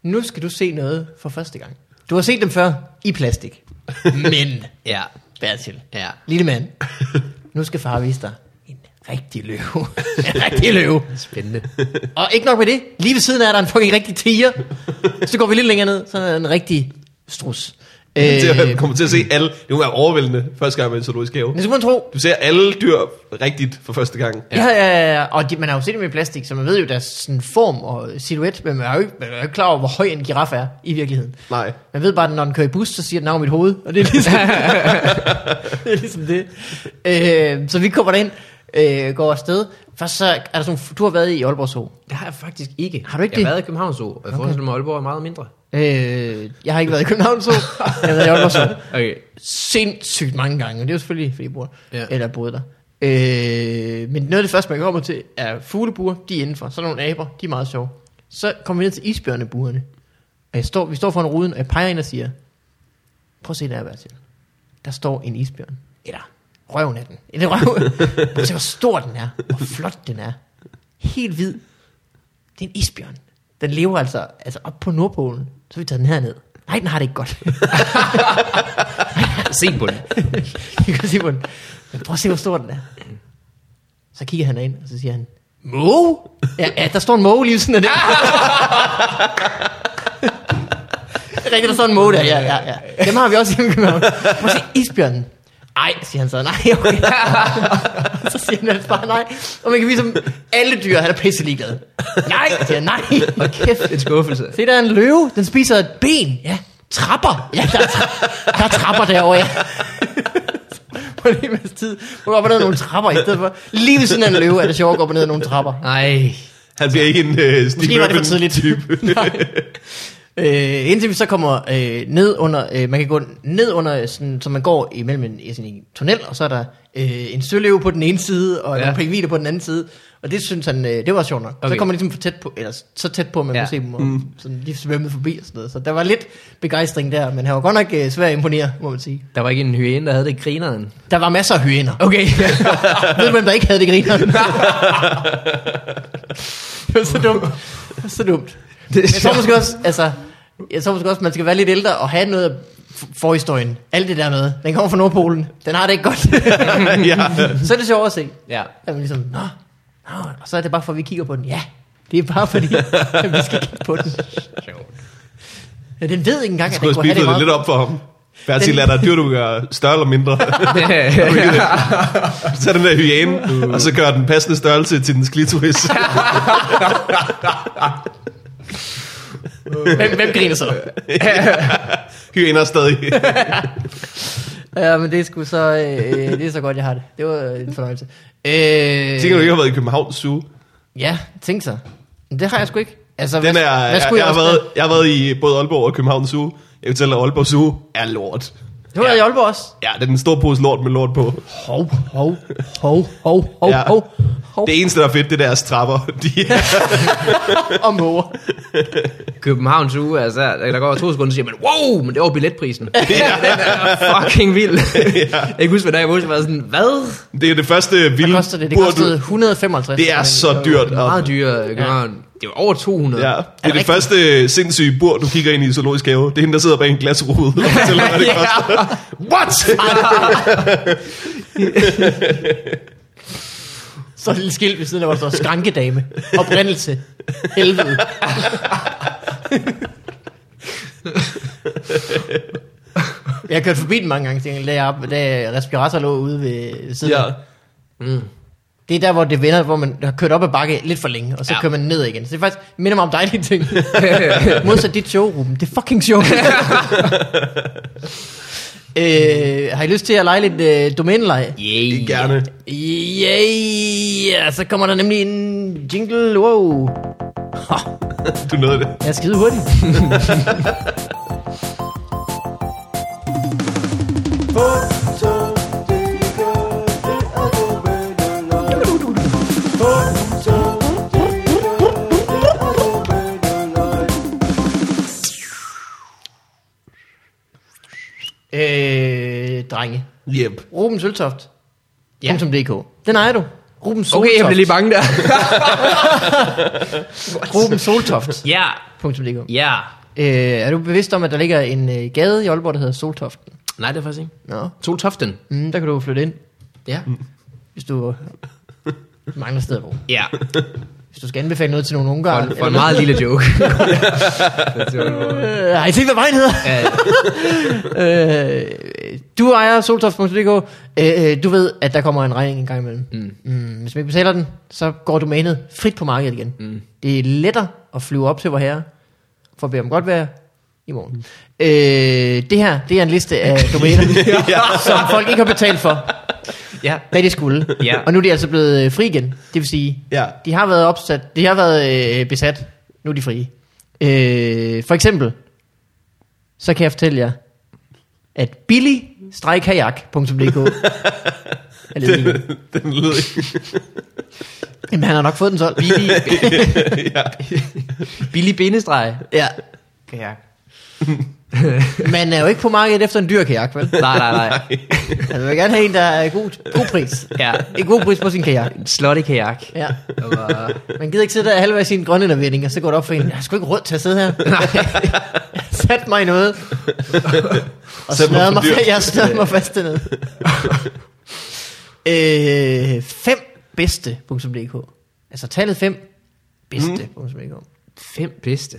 A: nu skal du se noget for første gang. Du har set dem før i plastik, men
D: Ja.
A: Bertil,
D: Ja.
A: lille mand, nu skal far vise dig en rigtig løve. *laughs* en rigtig løve.
D: Spændende.
A: Og ikke nok med det, lige ved siden af er der en fucking rigtig tiger. Så går vi lidt længere ned, så er der en rigtig strus. Øh,
B: Til at-
A: men
B: kommer til at se alle. Det må være overvældende første gang med en zoologisk have.
A: så kunne man tro,
B: Du ser alle dyr rigtigt for første gang.
A: ja, ja, ja, og de, man har jo set dem i plastik, så man ved jo deres sådan, form og silhuet, men man er, jo ikke, man er jo ikke klar over, hvor høj en giraf er i virkeligheden.
B: Nej.
A: Man ved bare, at når den kører i bus, så siger den navn mit hoved, og det
D: *laughs*
A: er ligesom *laughs* det. Er ligesom det. Øh, så vi kommer derind, øh, går afsted. Først så er der sådan, du har været i Aalborg Zoo.
D: Det har jeg faktisk ikke.
A: Har du ikke
D: jeg
A: det?
D: har været i København Zoo, og jeg forestiller mig, at Aalborg er meget mindre.
A: Øh, jeg har ikke været i København
D: *laughs*
A: Zoo, jeg har været i Aalborg Zoo.
D: Okay.
A: sindssygt mange gange, og det er jo selvfølgelig, fordi jeg bor,
D: Ja.
A: ja. eller boede der. Øh, men noget af det første, man kommer til, er fuglebuer, de er indenfor. Sådan nogle aber, de er meget sjove. Så kommer vi ned til isbjørnebuerne, og jeg står, vi står foran ruden, og jeg peger ind og siger, prøv at se der, Bertil. Der står en isbjørn. Eller røven af den. Eller røv. *laughs* Prøv at se, hvor stor den er. Hvor flot den er. Helt hvid. Det er en isbjørn. Den lever altså, altså op på Nordpolen. Så har vi tager den herned. Nej, den har det ikke godt.
D: Se på den.
A: *laughs* Jeg kan se på den. Men prøv at se, hvor stor den er. Så kigger han ind, og så siger han, Måge? Ja, ja der står en måge lige ved siden af det. Rigtigt, der står en måge der, ja, ja, ja. Dem har vi også hjemme i København. Prøv at se isbjørnen. Ej, siger han så, nej, okay. *laughs* Og så siger han altså bare nej. Og man kan vise ham, alle dyr, han er pisse ligeglad. Nej, siger han, nej. Og kæft,
D: En skuffelse.
A: Se, der er en løve. Den spiser et ben. Ja. Trapper. Ja, der er, tra- der er trapper derovre, *laughs* ja. På det meste tid. Hun går op og ned ad nogle trapper i stedet for. Lige ved siden af en løve er det sjovt at gå op og ned ad nogle trapper.
D: Nej.
B: Han bliver ikke en øh,
A: Måske
B: Steve
A: var det for
B: Irwin.
A: tidligt. *laughs*
B: *laughs*
A: Nej. øh, indtil vi så kommer øh, ned under, øh, man kan gå ned under, sådan, så man går imellem en, sådan en tunnel, og så er der øh, en søløve på den ene side, og
D: Ja.
A: ja. nogle pingviner på den anden side. Og det synes han, øh, det var sjovt nok. Okay. Så
D: Okay.
A: kom man ligesom for tæt på, eller så tæt på, at man ja.
D: Ja.
A: kunne se dem, og mm. sådan lige svømmede forbi og sådan noget. Så der var lidt begejstring der, men han var godt nok øh, svær at imponere, må man sige.
D: Der var ikke en hyæne, der havde det i grineren.
A: Der var masser af hyæner. *laughs*
D: Okay.
A: Ved du, hvem der ikke havde det griner? *laughs* det var så dumt. Det var så dumt.
D: *laughs* det er
A: Men jeg tror
D: sjovt.
A: måske også, altså, jeg tror måske også, man skal være lidt ældre og have noget af f- forhistorien. Alt det der med. Den kommer fra Nordpolen. Den har det ikke godt.
B: *laughs* ja.
A: så er det sjovt at se.
D: ja. *laughs*
A: At man ligesom, nå, nå, og så er det bare for, at vi kigger på den. Ja, det er bare fordi, *laughs* at vi skal kigge på den. Ja, den ved ikke engang, at den kunne
B: Skulle have
A: have det meget.
B: speedet det lidt op for ham. Bertil, lad dig dyr, du gør større eller
A: *laughs*
B: mindre. *laughs* så er den der hyæne, og så gør den passende størrelse til dens klitoris. *laughs*
A: Hvem, hvem griner så?
B: Hyæner
A: *laughs*
B: stadig.
A: Ja, men det er sgu så, øh, det er så godt, jeg har det. Det var øh, en fornøjelse. Øh,
B: Tænker du ikke, har været i København Zoo?
A: Ja, tænk så. Men det har jeg sgu ikke. Altså,
B: Den er,
A: hvad
B: jeg,
A: skulle
B: jeg, har
A: også
B: været,
A: med?
B: jeg har været i både Aalborg og København Zoo. Jeg kan fortælle dig, at Aalborg Zoo er lort.
A: Det var jeg i Aalborg også.
B: Ja, det er den store pose lort med lort på.
A: Hov, hov, hov, hov, hov,
B: Ja.
A: hov, hov.
B: Det eneste, der er fedt, det er deres trapper. *laughs* De er
A: Og måger.
D: Københavns uge, altså, der der går to sekunder, så siger man, wow, men det var billetprisen. *laughs* Ja. Den er fucking *laughs* vild. Jeg kan huske, hvad der jeg vågnede, så var jeg sådan, hvad?
B: Det er det første vilde
A: Hvad koster det? Det
B: bur, du-
A: kostede 155.
B: Det er så dyrt.
D: Det er meget dyre København. Det var over 200.
B: Ja,
D: Ja.
B: det er, det
A: rigtigt?
B: første øh, sindssyge bur, du kigger ind i i zoologisk have. Det er hende, der sidder bag en glasrude
D: *laughs*
B: og fortæller, hvad det
D: Ja.
B: koster. What?
A: Så er det et lille skilt ved siden af, hvor der står skrankedame. Oprindelse. Helvede. Jeg har kørt forbi den mange gange, tænkte jeg, da, jeg, da respirator lå ude ved siden.
B: Ja.
A: Ja. Det er der, hvor det vender, hvor man har kørt op ad bakke lidt for længe, og så ja.
D: Ja.
A: kører man ned igen. Så det er faktisk, det minder mig om dejlige
D: *laughs*
A: ting. Modsat dit show, Ruben. Det er fucking sjovt. øh, har I lyst til at lege lidt øh, domæneleje?
D: Yeah.
B: Gerne.
A: Yeah, så kommer der nemlig en jingle. Wow.
B: Du nåede det.
A: Jeg er skide
D: *laughs*
A: hurtig. øh, drenge.
B: Yep.
A: Ruben Søltoft. Ja. .dk. Den ejer du. Ruben Soltoft.
D: Okay, jeg blev lige bange der.
A: Ruben Soltoft.
D: *laughs* Ja,
A: .dk.
D: ja.
A: Øh, er du bevidst om, at der ligger en øh, gade i Aalborg, der hedder Soltoften?
D: Nej, det er faktisk ikke.
A: Nå.
D: Soltoften.
A: Mm, der kan du flytte ind,
D: Ja.
A: hvis
D: *laughs*
A: du mangler sted at bo.
D: Ja,
A: Hvis du skal anbefale noget til nogle
D: for,
A: ungarer.
D: en, for en meget lille *laughs* joke.
A: Øh, har I set, hvad vejen hedder?
D: Ja.
A: *laughs* øh, du ejer soltoft.dk. Øh, øh, du ved, at der kommer en regning en gang imellem. Mm. Mm, hvis man ikke betaler den, så går domænet frit på markedet igen. Mm. Det er lettere at flyve op til vor herre, for at bede om godt vejr i morgen. Mm. Øh, det her, det er en liste
D: *laughs*
A: af domæner, som folk ikke har betalt for.
D: ja.
A: hvad de skulle.
D: Ja.
A: Og nu er de altså blevet øh, fri igen. Det vil sige,
B: Ja. *laughs*
A: de har været opsat, de har været øh, besat. Nu er de frie. Øh, for eksempel, så kan jeg fortælle jer, at billy-kajak.dk er ledig.
B: Den lød ikke. *laughs*
A: Jamen, han har nok fået den solgt.
D: Billig, billig bindestreg.
A: Ja.
D: Kajak.
A: Man er jo ikke på markedet efter en dyr kajak, vel?
D: Nej, nej, *laughs* nej.
A: Altså, man vil gerne have en, der er god, god pris.
D: Ja.
A: En god pris på sin kajak.
D: En slottig kajak.
A: Ja.
D: øh,
A: Man gider ikke sidde der halvvejs i en grønlændervinding, og så går det op for en, jeg har sgu ikke råd til at sidde her. *laughs* Sat mig i noget. og
B: Sæt mig
A: snørede
B: på
A: mig,
B: dyr.
A: fa- *laughs* jeg snørede mig fast dernede. øh, 5 bedste.dk Altså tallet 5 bedste.dk
D: Fem bedste.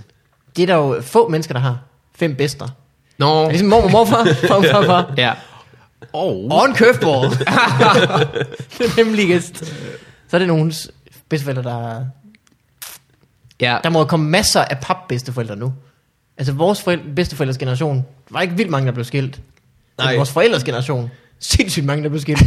A: Det er der jo få mennesker, der har. Fem bedster. Det
D: Nå.
A: er ligesom mormor, morfar, morfar, morfar.
D: Ja. Og
A: Og en køftbord. *laughs* det er nemlig gæst. Så er det nogens bedsteforældre, der
D: ja.
A: Der må jo komme masser af papbedsteforældre nu. Altså vores forældre, bedsteforældres generation, der var ikke vildt mange, der blev skilt. Nej.
B: Nej.
A: Men vores forældres generation, sindssygt mange, der blev skilt.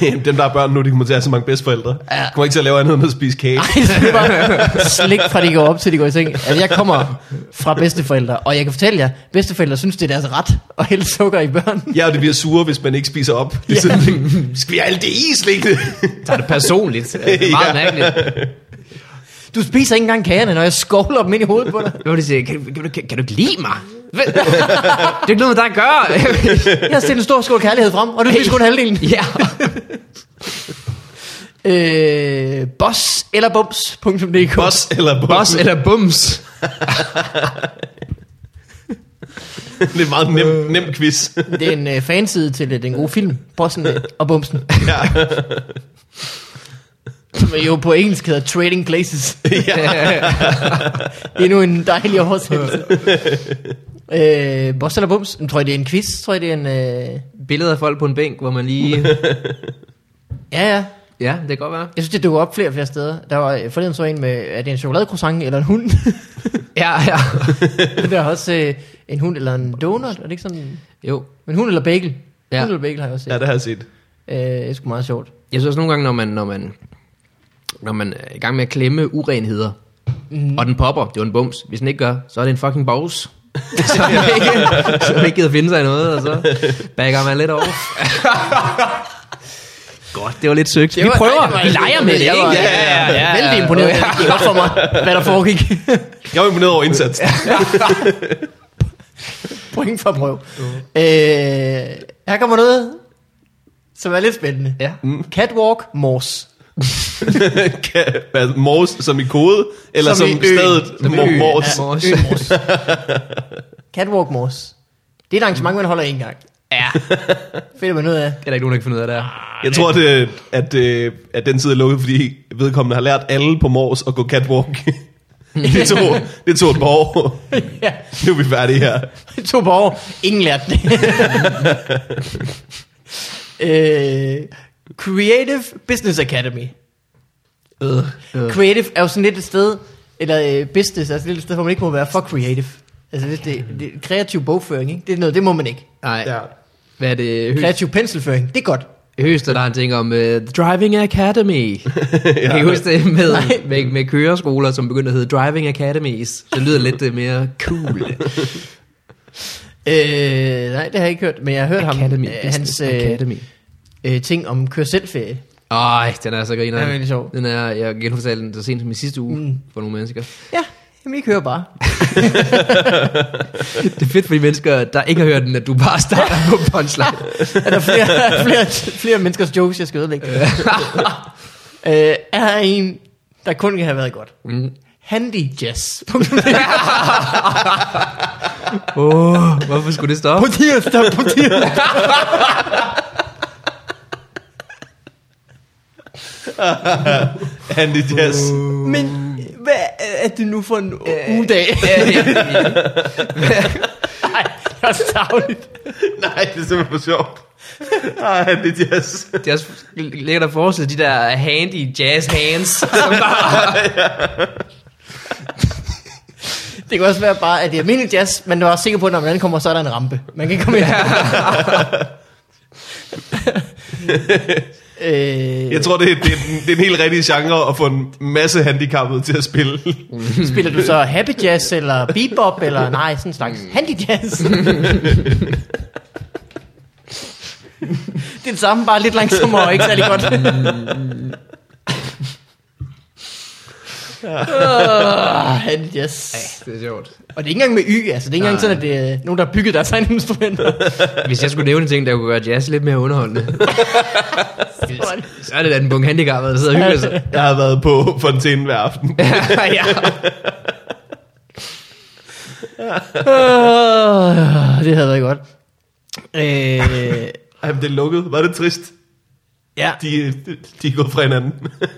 A: Ej,
B: Dem, der er børn nu, de kommer til at have så mange bedsteforældre. Ja. Kommer ikke til at lave andet end at spise kage.
A: det er bare slik fra de går op til de går i seng. Altså, jeg kommer fra bedsteforældre, og jeg kan fortælle jer, bedsteforældre synes, det er deres ret at hælde sukker i børn.
B: Ja, og det bliver sure, hvis man ikke spiser op. Det er sådan, *laughs* ting. skal vi have alt det
D: *laughs*
B: is liggende?
D: Tager det *laughs* personligt. Øh, Det er meget
B: Ja.
D: mærkeligt.
A: Du spiser ikke engang kagerne, når jeg skovler dem ind i hovedet på dig.
D: Hvad var det, de siger? Kan, du- kan, du- kan, kan du ikke lide mig? *laughs* Hvad? det er ikke noget med dig at *laughs* gøre.
A: Jeg har stillet en stor skål kærlighed frem, og du spiser kun halvdelen.
D: ja.
A: Øh, boss eller bums.dk
B: Boss eller bum.
D: Boss eller bums.
B: *laughs*
D: *laughs*
B: Det er en meget nem, nem quiz.
A: Det er en øh, fanside til øh, den gode film, Bossen øh, og Bumsen.
B: ja.
A: *laughs* Som jo på engelsk hedder Trading Places.
D: Ja.
A: Endnu en dejlig
B: *laughs*
A: oversættelse. øh, boss eller Bums? Jamen, Tror jeg, det er en quiz? Tror jeg, det er en... Øh...
D: Billeder af folk på en bænk, hvor man lige...
A: Ja, ja.
D: Ja, det kan godt være.
A: Jeg synes, det dukker op flere og flere steder. Der var øh, forleden så en med, er det en chokoladecroissant eller en hund? *laughs*
D: Ja, ja.
A: der er også øh, en hund eller en donut, er det ikke sådan?
D: Jo.
A: En hund eller bagel? Ja.
D: Ja.
A: Hund eller bagel har jeg også set.
B: ja,
A: Ja,
B: det har jeg set.
A: det... Øh, det er sgu meget sjovt.
D: Jeg synes også nogle gange, når man, når man, når man er i gang med at klemme urenheder, mm. og den popper, det er jo en bums. Hvis den ikke gør, så er det en fucking *laughs* bogs. så er det ikke, så er det ikke givet at finde sig i noget, og så backer man lidt over. Godt, det var lidt søgt. Vi prøver, vi leger med det, ikke?
A: Jeg var,
D: Ja, ja, ja, ja.
A: Vældig imponeret. Det gik godt for mig, hvad der foregik.
B: Jeg var imponeret over indsatsen.
A: *laughs* Point for prøv. Øh, her kommer noget, som er lidt spændende. Mm.
D: Ja.
A: Catwalk Morse.
B: *laughs* Kan- hvad, Mors som i kode, eller
A: Som
B: som,
A: i
B: som
A: øen.
B: stedet
D: Som i
B: Mor-
D: øen,
B: Mors.
D: ja. Mors.
A: Øen Mors. Catwalk Mors. Det er et arrangement, man holder en gang.
D: Ja,
A: Fedt, at man ud
D: *laughs*
A: af.
D: det er der ikke nogen, der kan finde ud af det her.
B: Jeg tror, det, at, øh, at den side er lukket, fordi vedkommende har lært alle på Mors at gå catwalk. det, tog, det tog et par år.
A: ja,
B: Nu er vi færdige her.
A: to på år. Ingen lærte
D: *laughs*
A: det. øh, Creative Business Academy.
D: Øh.
A: Creative er jo sådan lidt et sted, eller øh, business er sådan lidt et sted, hvor man ikke må være for creative. Altså hvis det, det er kreativ bogføring, ikke? Det, er noget, det må man ikke.
D: Nej, hvad er det? Høst,
A: Kreativ penselføring, det er godt.
D: Høster, der har en ting om uh, The Driving Academy. Jeg kan huske det med,
A: Nej.
D: med, med køreskoler, som begyndte at hedde Driving Academies. Det lyder lidt øh, mere cool.
A: Øh, nej, det har jeg ikke hørt, men jeg har hørt
D: Academy,
A: ham, øh,
D: Business
A: hans øh,
D: Academy.
A: øh, ting om kør selvferie.
D: Ej, den er så griner.
A: Den er virkelig sjov.
D: Den er, jeg genfortalte den så sent som i sidste uge mm. for nogle mennesker.
A: Ja, jamen I kører bare.
D: Det er fedt for de mennesker, der ikke har hørt den, at du bare starter på
A: *laughs*
D: punchline.
A: Er der flere, flere, flere menneskers jokes, jeg skal ødelægge? *laughs* øh, er her en, der kun kan have været godt.
D: Mm.
A: Handy jazz. *laughs*
D: Åh, oh, hvorfor skulle det stoppe?
A: tirsdag, på
D: *laughs*
A: tirsdag.
B: Andy Jazz.
A: Men øh, hvad er det nu for en
D: Øh.
A: ugedag? *laughs* Nej, det er savligt.
B: Nej, det er simpelthen for sjovt. Nej, Andy Jazz.
D: det er også lækkert at forestille de der handy jazz hands,
A: *laughs*
D: som bare
A: Det kan også være bare, at det er almindelig jazz, men du er også sikker på, at når man ankommer, så er der en rampe. Man kan ikke komme ind. *laughs* øh,
B: Jeg tror, det er, det, er den, det er en helt rigtig genre at få en masse handicappede til at spille.
A: Spiller du så happy jazz, eller bebop, *laughs* eller nej, sådan en slags handy jazz? *laughs* det er det samme, bare lidt langsommere og ikke særlig godt. Mm. uh, handy jazz.
D: det er sjovt.
A: Og det er ikke engang med y, altså det er ikke engang sådan, at det er nogen, der har bygget deres egne instrumenter.
D: Hvis jeg skulle nævne en ting, der kunne gøre jazz lidt mere underholdende,
A: *laughs*
D: så er det da den bunke handicappede, der sidder og hygger sig.
B: Jeg har været på fontænen hver aften.
D: ja.
A: uh, det havde været godt. Øh,
B: Jamen, det er lukket. Var det trist?
A: ja,
B: De, de er gået fra hinanden.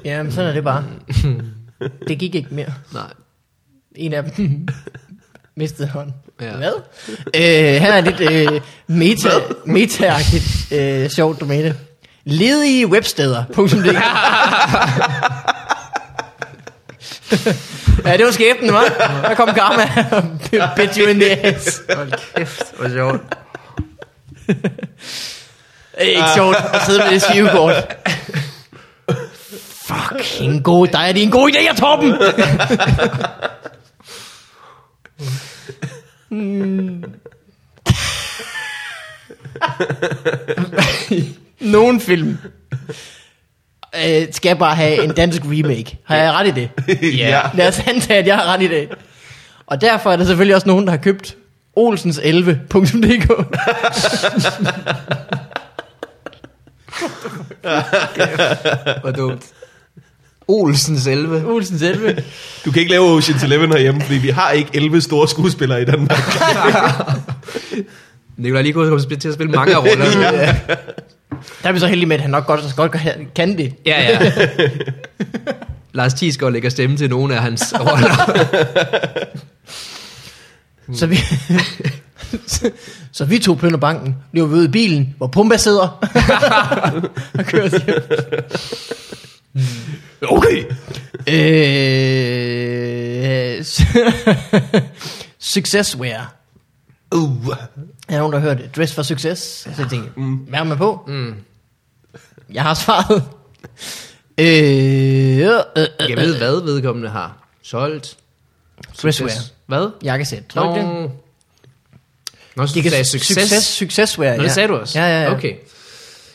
A: jamen sådan er det bare. Det gik ikke mere.
D: Nej.
A: En af dem mistede hånden.
D: Ja.
A: Hvad? Øh, han er lidt øh, meta, meta-agtigt øh, sjovt domæne. Ledige websteder. Punktum DK. ja, det var skæbnen, hva'? Der kom Gamma og bit you in the ass.
D: Hold kæft, hvor sjovt.
A: Det er ikke sjovt at sidde med det skivekort. Fucking god dig. Det er en god idé, jeg Torben. Mm. Nogen film øh, skal bare have en dansk remake. Har jeg ret i det?
B: *laughs* ja.
A: Lad os antage, at jeg har ret i det. Og derfor er der selvfølgelig også nogen, der har købt olsens11.dk.
D: Hvor dumt. Olsen selve.
A: Olsens 11.
B: Du kan ikke lave Ocean's Eleven herhjemme, fordi vi har ikke 11 store skuespillere i Danmark.
D: Nikolaj Likos kommer til at spille mange roller. ja.
A: *laughs* Der er vi så heldige med, at han nok godt, godt kan- kan det.
D: ja, ja. Lars Thiesgaard lægger stemme til nogle af hans roller. Hmm.
A: Så vi, *laughs* så, så vi tog Pønder Banken, løber vi ud i bilen, hvor Pumba
D: *laughs*
A: sidder. og kører os hjem.
B: Okay.
A: Øh, *laughs* successware.
B: Uh.
A: Er der nogen, der har hørt det? Dress for succes. Så jeg tænkte, mm. mærker man på? Mm. Jeg har svaret. Øh, øh, øh,
D: Jeg ved, hvad vedkommende har solgt.
A: dresswear.
D: Hvad?
A: Jakkesæt. Tror du ikke det?
D: Nå, så
A: Det
D: du sagde
A: kan
D: succes.
A: succes. Successware,
D: Nå, det sagde du også?
A: Ja, ja, ja.
D: Okay.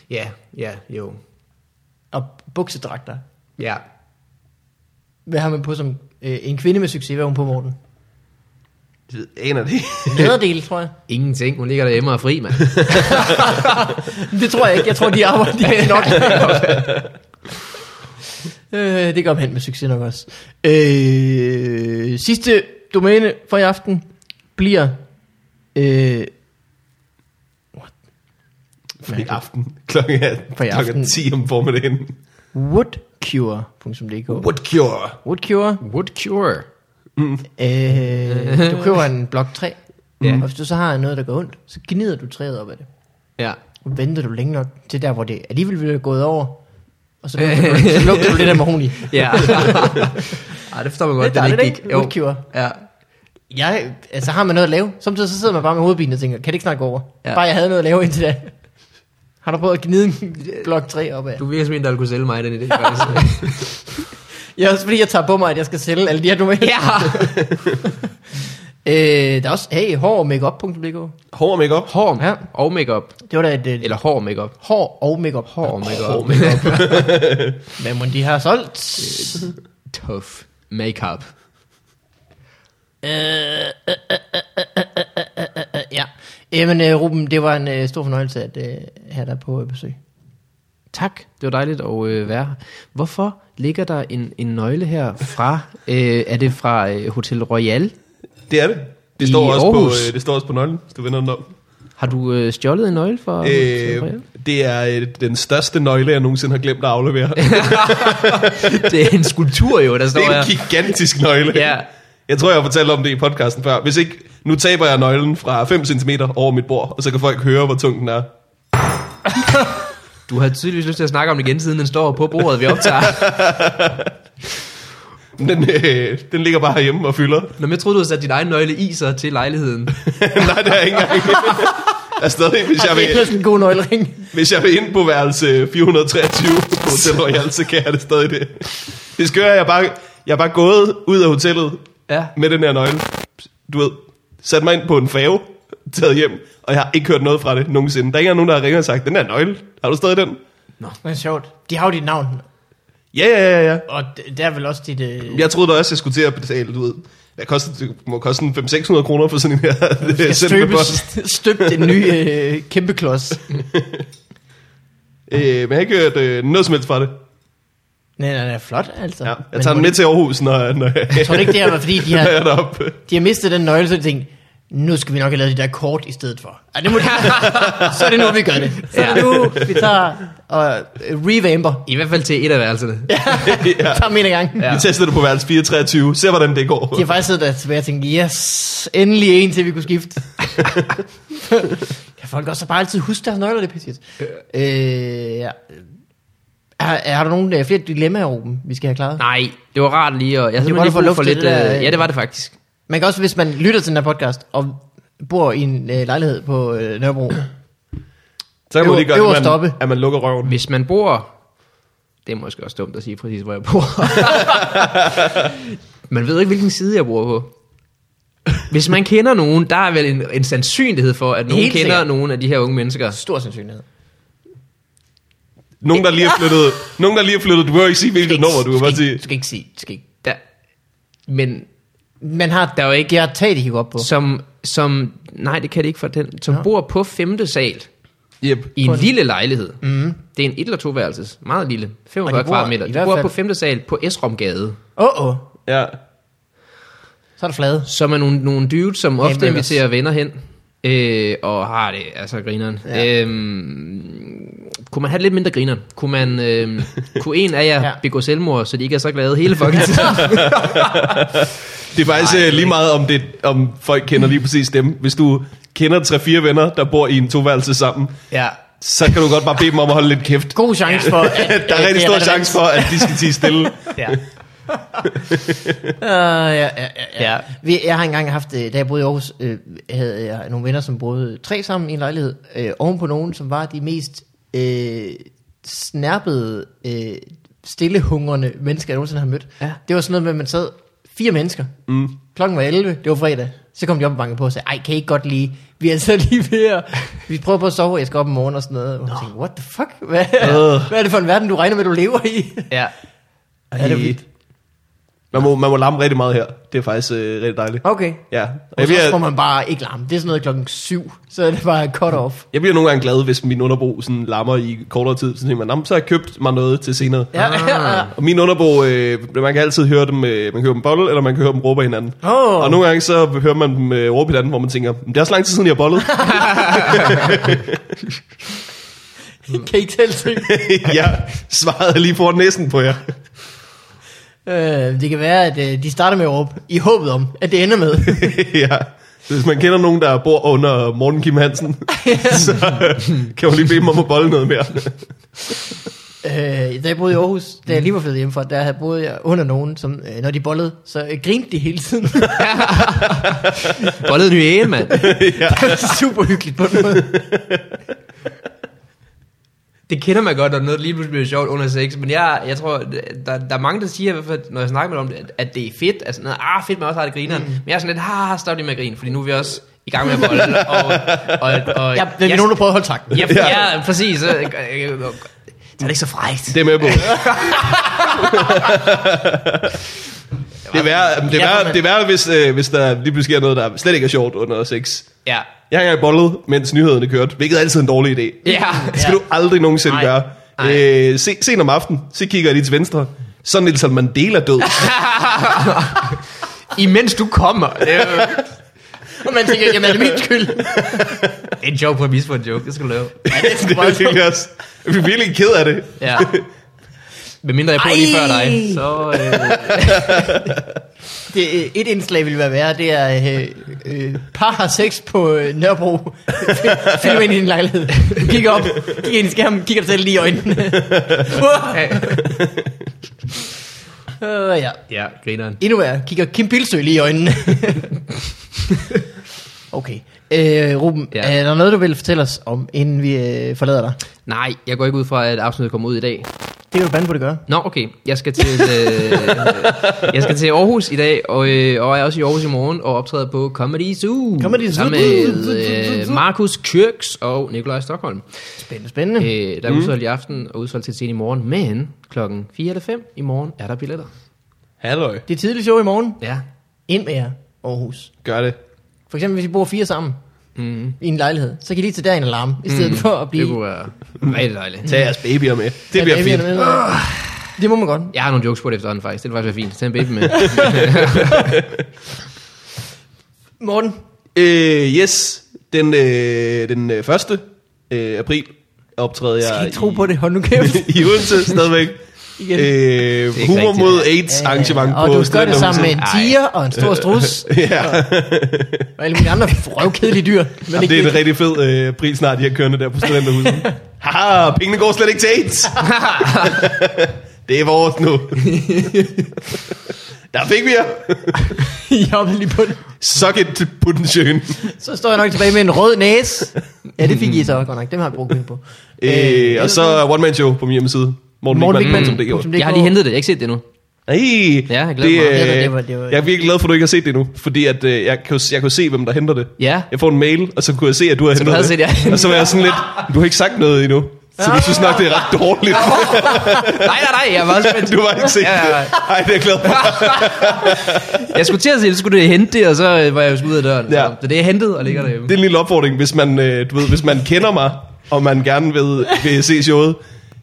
D: Ja, ja, jo.
A: Og buksedragter.
D: Ja.
A: Hvad har man på som øh, en kvinde med succes? Hvad har hun på, Morten?
B: Jeg ved- aner det ikke.
A: Nederdel, tror jeg.
D: Ingenting. Hun ligger derhjemme og er fri, mand.
A: Det tror jeg ikke. Jeg tror, de arbejder de er nok. øh, det går hen med succes nok også. Øh, sidste domæne for i aften bliver... Øh,
B: For i aften. Klokken er
A: For i
B: klokken
A: aften.
B: 10 om formiddagen.
A: woodcure.dk
B: What cure?
A: Woodcure.
D: Wood cure.
A: Øh, du køber en blok 3.
D: Ja.
A: Og hvis du så har noget, der går ondt, så gnider du træet op af det.
D: Ja.
A: Og venter du længe nok til der, hvor det alligevel ville være gået over. Og så lugter, du, så lugter du lidt af mahoni.
D: Ja. *laughs* Ej, det forstår man godt.
A: Det er dejligt,
D: vigtigt.
A: ikke? Woodcure.
D: Ja.
A: Jeg, altså har man noget at lave. Samtidig så sidder man bare med hovedpine og tænker, kan det ikke snart gå over?
D: Ja.
A: Ja. Bare jeg havde noget at lave indtil da. Har du prøvet at gnide en blok 3 op af?
D: Du virker som en, der ville kunne sælge mig den *laughs* idé, faktisk.
A: Ja, også fordi jeg tager på mig, at jeg skal sælge alle de her domæner.
D: ja.
A: Øh, der er også, hey, hår og makeup.dk.
B: Hård make-up.
D: Hår
A: Ja.
D: ja. og makeup.
A: Det var da et, et
D: Eller hård makeup.
A: hår og makeup.
D: Hår og makeup.
B: Hård make-up.
A: Hvad må de have solgt?
D: Tough makeup.
A: Øh, øh, øh, øh, øh, øh, øh, øh, øh, ja. Jamen, øh, Ruben, det var en øh, stor fornøjelse at øh, have dig på øh, besøg.
D: Tak, det var dejligt at øh, være her. Hvorfor ligger der en, en nøgle her fra, øh, er det fra øh, Hotel Royal?
B: Det er det. Det
D: I
B: står, også på,
D: Aarhus.
B: øh, det står også på nøglen, hvis du vender den om.
D: Har du øh, stjålet en nøgle fra Hotel
B: Øh,
D: Royal? *laughs*
B: det er øh, den største nøgle, jeg nogensinde har glemt at aflevere.
D: Det er en skulptur jo, der står
B: Det er
D: her.
B: en gigantisk nøgle.
D: Ja.
B: Jeg tror, jeg har fortalt om det i podcasten før. Hvis ikke, nu taber jeg nøglen fra 5 cm over mit bord, og så kan folk høre, hvor tung den er.
D: Du har tydeligvis lyst til at snakke om det igen, siden den står på bordet, vi
B: *laughs*
D: optager.
B: Den, øh, den ligger bare herhjemme og fylder. *laughs*
D: Nå, men jeg troede, du havde sat din egen nøgle i sig til lejligheden.
B: Nej, det er jeg ikke engang. Jeg er stadig, hvis jeg,
A: Ej, det er
B: vil,
A: ellers en god nøglering. *laughs*
B: hvis jeg vil ind på værelse 423 på Hotel Royal, så kan jeg det stadig det. Det skører, jeg er bare, jeg er bare gået ud af hotellet
D: Ja.
B: med den her nøgle. Du ved, sat mig ind på en fave, taget hjem, og jeg har ikke hørt noget fra det nogensinde. Der er ikke engang nogen, der har ringet og sagt, den der nøgle, har du stadig den?
A: Det er sjovt. De har jo dit navn,
B: Ja, ja, ja, ja.
A: og d- det er vel også dit... Øh,
B: Jeg troede da også, jeg skulle til at betale, du ved, hvad koster, det må koste en 500-600 kroner
A: *laughs*
B: for sådan en her
A: skal
B: *laughs* sendt med post.
A: støbes, *laughs* støbt en ny øh, kæmpe klods.
B: *laughs* Øh, men jeg har ikke hørt øh, noget som helst fra det.
A: Nej, nej, nej, flot altså.
B: Ja, jeg
A: Men
B: tager den
A: må
B: med til Aarhus, når, når
A: de- Tror du ikke, det har været, fordi de
B: *laughs* når
A: har,
B: jeg er deroppe.
A: *laughs* de har mistet den nøgle, så de tænkte, nu skal vi nok have lavet de der kort i stedet for. Ja, det må de, *laughs* så er det nu, vi gør det. Så er det nu, vi tager og øh, revamper.
D: I hvert fald til et af værelserne.
A: Ja. Tager dem en gang.
B: Ja. Vi tester det på værelse 423, se hvordan det går.
A: De har faktisk siddet der tilbage og tænkt, yes, endelig en til, vi kunne skifte. kan folk også bare altid huske deres nøgler, det er pissigt. Øh, ja. har, har du nogle øh, flere dilemmaer, Ruben, vi skal have klaret?
D: Nej, det var rart lige, og jeg havde
A: Det var
D: simpelthen
A: da for
D: lige brug for
A: luftigt,
D: lidt...
A: det der,
D: Øh,
A: øh.
D: ja, det var det faktisk.
A: Man kan også, hvis
B: *clears throat*
A: man lytter til den her podcast, og bor i en øh, lejlighed på øh, Nørrebro,
B: Så kan man
A: Øver-
B: lige gøre,
A: øverst
B: det, at man,
A: oppe.
B: at man lukker røven.
D: Hvis man bor... Det er måske også dumt at sige præcis, hvor jeg
A: *laughs*
D: bor. man ved jo ikke, hvilken side jeg bor på. Hvis man kender nogen, der er vel en, en sandsynlighed for, at nogen
A: Helt
D: kender
A: sikkert.
D: nogen af de her unge mennesker.
A: Stor sandsynlighed.
B: Nogen, der lige er flyttet, nogen, der lige er flyttet, du behøver ikke sige, hvilket nummer, du kan bare sige.
A: Du skal ikke sige, du skal ikke.
D: Der, men
A: Man har, der er jo ikke, jeg har taget, de kan gå op på.
D: som, som, nej det kan det ikke for den, som ja. bor på femte sal
B: Yep.
D: i en
A: På en-
D: lille lejlighed. Mm. Det er en et- eller toværelses, meget lille, 45
A: Og de bor
D: kvadratmeter.
A: i
D: De
A: hvert
D: bor
A: fald-
D: på femte sal på Esromgade,
A: Åh, oh, oh,
B: Ja.
A: så er der flade.
D: som er nogle, nogle dudes, som ofte
A: Jamen, ellers.
D: inviterer venner hen. Øh, og har det, altså grineren.
A: Ja.
D: Ja. Øhm, kunne man have det lidt mindre grineren? Kunne,
A: *laughs*
D: man, øhm, kunne en af jer
A: Ja.
D: ja. begå selvmord, så de ikke er så glade
A: *laughs*
D: hele fucking tiden?
B: Det er faktisk Ej, lige meget, om, det, om folk kender lige præcis dem. Hvis du kender 3-4 venner, der bor i en toværelse sammen,
A: Ja.
B: så kan du godt bare bede dem om at holde lidt kæft.
A: God chance for, at,
B: *laughs* Der er rigtig stor chance for, at de skal tige *laughs* stille.
A: *laughs* Ja. uh, ja, ja, ja, ja.
D: Ja.
A: Vi, jeg har engang haft, øh, da jeg boede i Aarhus, øh, havde jeg nogle venner, som boede tre sammen i en lejlighed, øh, oven på nogen, som var de mest øh, snærpede, øh, stillehungrende mennesker, jeg nogensinde har mødt.
D: Ja.
A: Det var sådan noget med, at man sad fire mennesker, mm. klokken var 11, det var fredag, så kom de op og bankede på og sagde, ej, kan I ikke godt lige, vi er altså *laughs* lige ved at, vi prøver på at sove, jeg skal op i morgen og sådan noget. Og jeg tænkte, what the fuck, hvad, hvad er det for en verden, du regner med, du lever i? *laughs*
D: ja.
A: Ja, det er vildt.
B: Man må, man må larme rigtig meget her. Det er faktisk øh, rigtig dejligt.
A: Okay.
B: Ja. Og
A: Og
B: jeg,
A: så får
B: bliver,
A: man bare ikke larme. Det er sådan noget klokken syv, så er det bare cut off.
B: jeg bliver nogle gange glad, hvis min underbo sådan larmer i kortere tid. Så tænker man, "Nå, men så har jeg købt mig noget til senere.
A: Ja, ja.
B: Og min underbo, øh, man kan altid høre dem, øh, man kan høre dem bolle, eller man kan høre dem råbe af hinanden.
A: *laughs* Åh.
B: Og nogle gange så hører man dem øh, råbe hinanden, hvor man tænker, "Men det er også lang tid siden, jeg
A: *laughs*
B: har bollet.
A: Kan I ikke tælle ting?
B: jeg svarede lige foran næsen på jer.
A: *laughs*
B: *laughs*
A: øh, det kan være, at øh, de starter med at råbe i håbet om, at det
B: *laughs*
A: ender med.
B: ja. Så Hvis man kender nogen, der bor under Morten
A: *laughs*
B: Kim Hansen, så øh, kan man lige bede dem om at bolle noget mere.
A: øh, da jeg boede i Aarhus, da jeg lige var flyttet hjemmefra, der havde- boede jeg under nogen, som øh, når de bollede, så øh, grinte de hele
B: *laughs*
A: tiden. det
D: Bollet en hyæne, *laughs* mand.
B: ja.
A: var super hyggeligt på den måde.
D: Det kender man godt, når noget lige pludselig bliver sjovt under sex, men jeg, jeg tror, der, der er mange, der siger, i hvert fald, når jeg snakker med dem om det, at, at det er fedt, altså noget, ah, fedt, man også har det grineren, mm. men jeg er sådan lidt, ah, stop lige med at grine, fordi nu er vi også i gang med at *laughs* bolle, og, og, og, og
A: Ja, det er nogen, der prøver at holde takten.
D: ja, ja, ja, præcis, øh, øh, øh, øh, det er ikke så frækt.
B: Det er med på. det er værre, det er værre, det er værre hvis, øh, hvis der lige pludselig sker noget, der slet ikke er sjovt under sex.
D: Ja,
B: Jeg har engang bollet, mens nyhederne kørte, hvilket er altid en dårlig idé.
D: *laughs* ja,
B: Det skal du aldrig nogensinde
D: Nej.
B: gøre.
D: Nej.
B: Øh, se, sen om aftenen, så kigger jeg lige til venstre. Så er Nelson Mandela død.
D: imens du kommer. Det er, jo- *laughs*
A: Og man tænker, jamen er det min
B: *laughs*
A: skyld?
D: det er en joke på at vise for en joke, det skal du lave.
B: det er virkelig også. Jeg bliver virkelig ked af det.
D: Ja. Med mindre jeg på lige
A: Ej.
D: før dig, så... Øh,
A: Det, øh, et indslag ville være værre, det er øh, øh, par har sex på øh, *laughs* Nørrebro. Film ind i en lejlighed. Du kigger op, kigger ind i skærmen, kigger dig selv lige i *laughs* øjnene. uh, ja.
D: *laughs* ja, grineren.
A: Endnu værre, kigger Kim Pilsø lige i *laughs* øjnene. okay. Øh, Ruben,
D: Ja.
A: ja. er der noget, du vil fortælle os om, inden vi øh, forlader dig?
D: Nej, jeg går ikke ud fra, at afsnittet kommer ud i dag.
A: Det kan du bande på, det gør.
D: Nå, okay. Jeg skal til, øh, jeg skal til Aarhus i dag, og, øh, og er også i Aarhus i morgen, og optræder på Comedy Zoo.
A: Comedy Zoo.
D: Sammen med øh, Markus Kyrks og Nikolaj Stockholm.
A: Spændende, spændende. Øh.
D: Øh, der er udsolgt i aften, og udsolgt til sen i morgen, men klokken 4 eller 5 i morgen er der billetter.
B: Halløj.
A: Det er tidligt show i morgen.
D: Ja.
A: Ind med jer, Aarhus.
B: Gør det.
A: For eksempel, hvis I bor fire sammen mm. i en lejlighed, så kan I lige tage der en alarm, i stedet mm. for at blive...
D: Det kunne være rigtig dejligt.
B: Tag jeres babyer med. Det
A: Ja,
B: bliver
A: babyerne
B: fedt.
A: med. Ah. Det må man godt.
D: Jeg har nogle jokes på det efterhånden faktisk. Det var faktisk være fint. Tag en baby med.
A: Morten,
B: Øh, yes, den, øh, den øh, 1. Øh, april optræder jeg
A: skal ikke tro
B: i,
A: på det. Hold nu kæft.
B: i Odense stadigvæk.
A: Igen.
B: Øh, humor
D: rigtigt,
B: mod AIDS *laughs* arrangement
A: og du
B: på
A: gør det
B: Studenterhuset.
A: sammen med en
D: Ej.
A: tiger og en stor strus
B: *laughs* Ja,
A: og alle mulige andre røvkedelige dyr. Men
B: *laughs* Jamen,
A: ikke
B: det er en rigtig fed øh, april snart, de har kørende der på
A: *laughs*
B: studenterhuset. Haha, pengene går slet ikke til AIDS. det er vores nu. Der fik vi jer.
A: Jeg er lige *laughs* på det.
B: Suck it, Puttensjøen.
A: Så står jeg nok tilbage med en rød næse. Ja, det fik I så godt nok. Dem har jeg brugt penge på.
B: Øh, og så One Man Show på min hjemmeside. Morten,
A: Morten
B: Wigman.
A: Wigman.
B: Mm.
A: Punktum
D: Jeg har lige hentet det, jeg har ikke set det endnu.
B: Ej,
D: Ja, jeg glæder
A: Det
D: mig.
B: det, øh,
A: var- det var- det var-
B: Jeg er virkelig glad for, at du ikke har set det endnu, fordi at, øh, jeg, kan, jo- jeg kan jo se, hvem der henter det.
D: Ja.
B: Jeg får en mail, og så kunne jeg se, at du har hentet
D: havde
B: det.
D: set, ja.
B: Og så var jeg sådan lidt, du har ikke sagt noget endnu, så du synes nok, det er ret dårligt.
D: Nej, nej, nej, jeg var også spændt.
B: *laughs* du har ikke set
D: Ja, ja, ja.
B: det. Ej, det er jeg glad for.
D: *laughs* Jeg skulle til at sige, at skulle det hente det, og så øh, var jeg jo smidt ud af døren.
B: Ja.
D: Ja. Så det er hentet og ligger derhjemme.
B: Det er en lille opfordring, hvis man, øh, du ved, hvis man kender mig, og man gerne vil, vil se showet,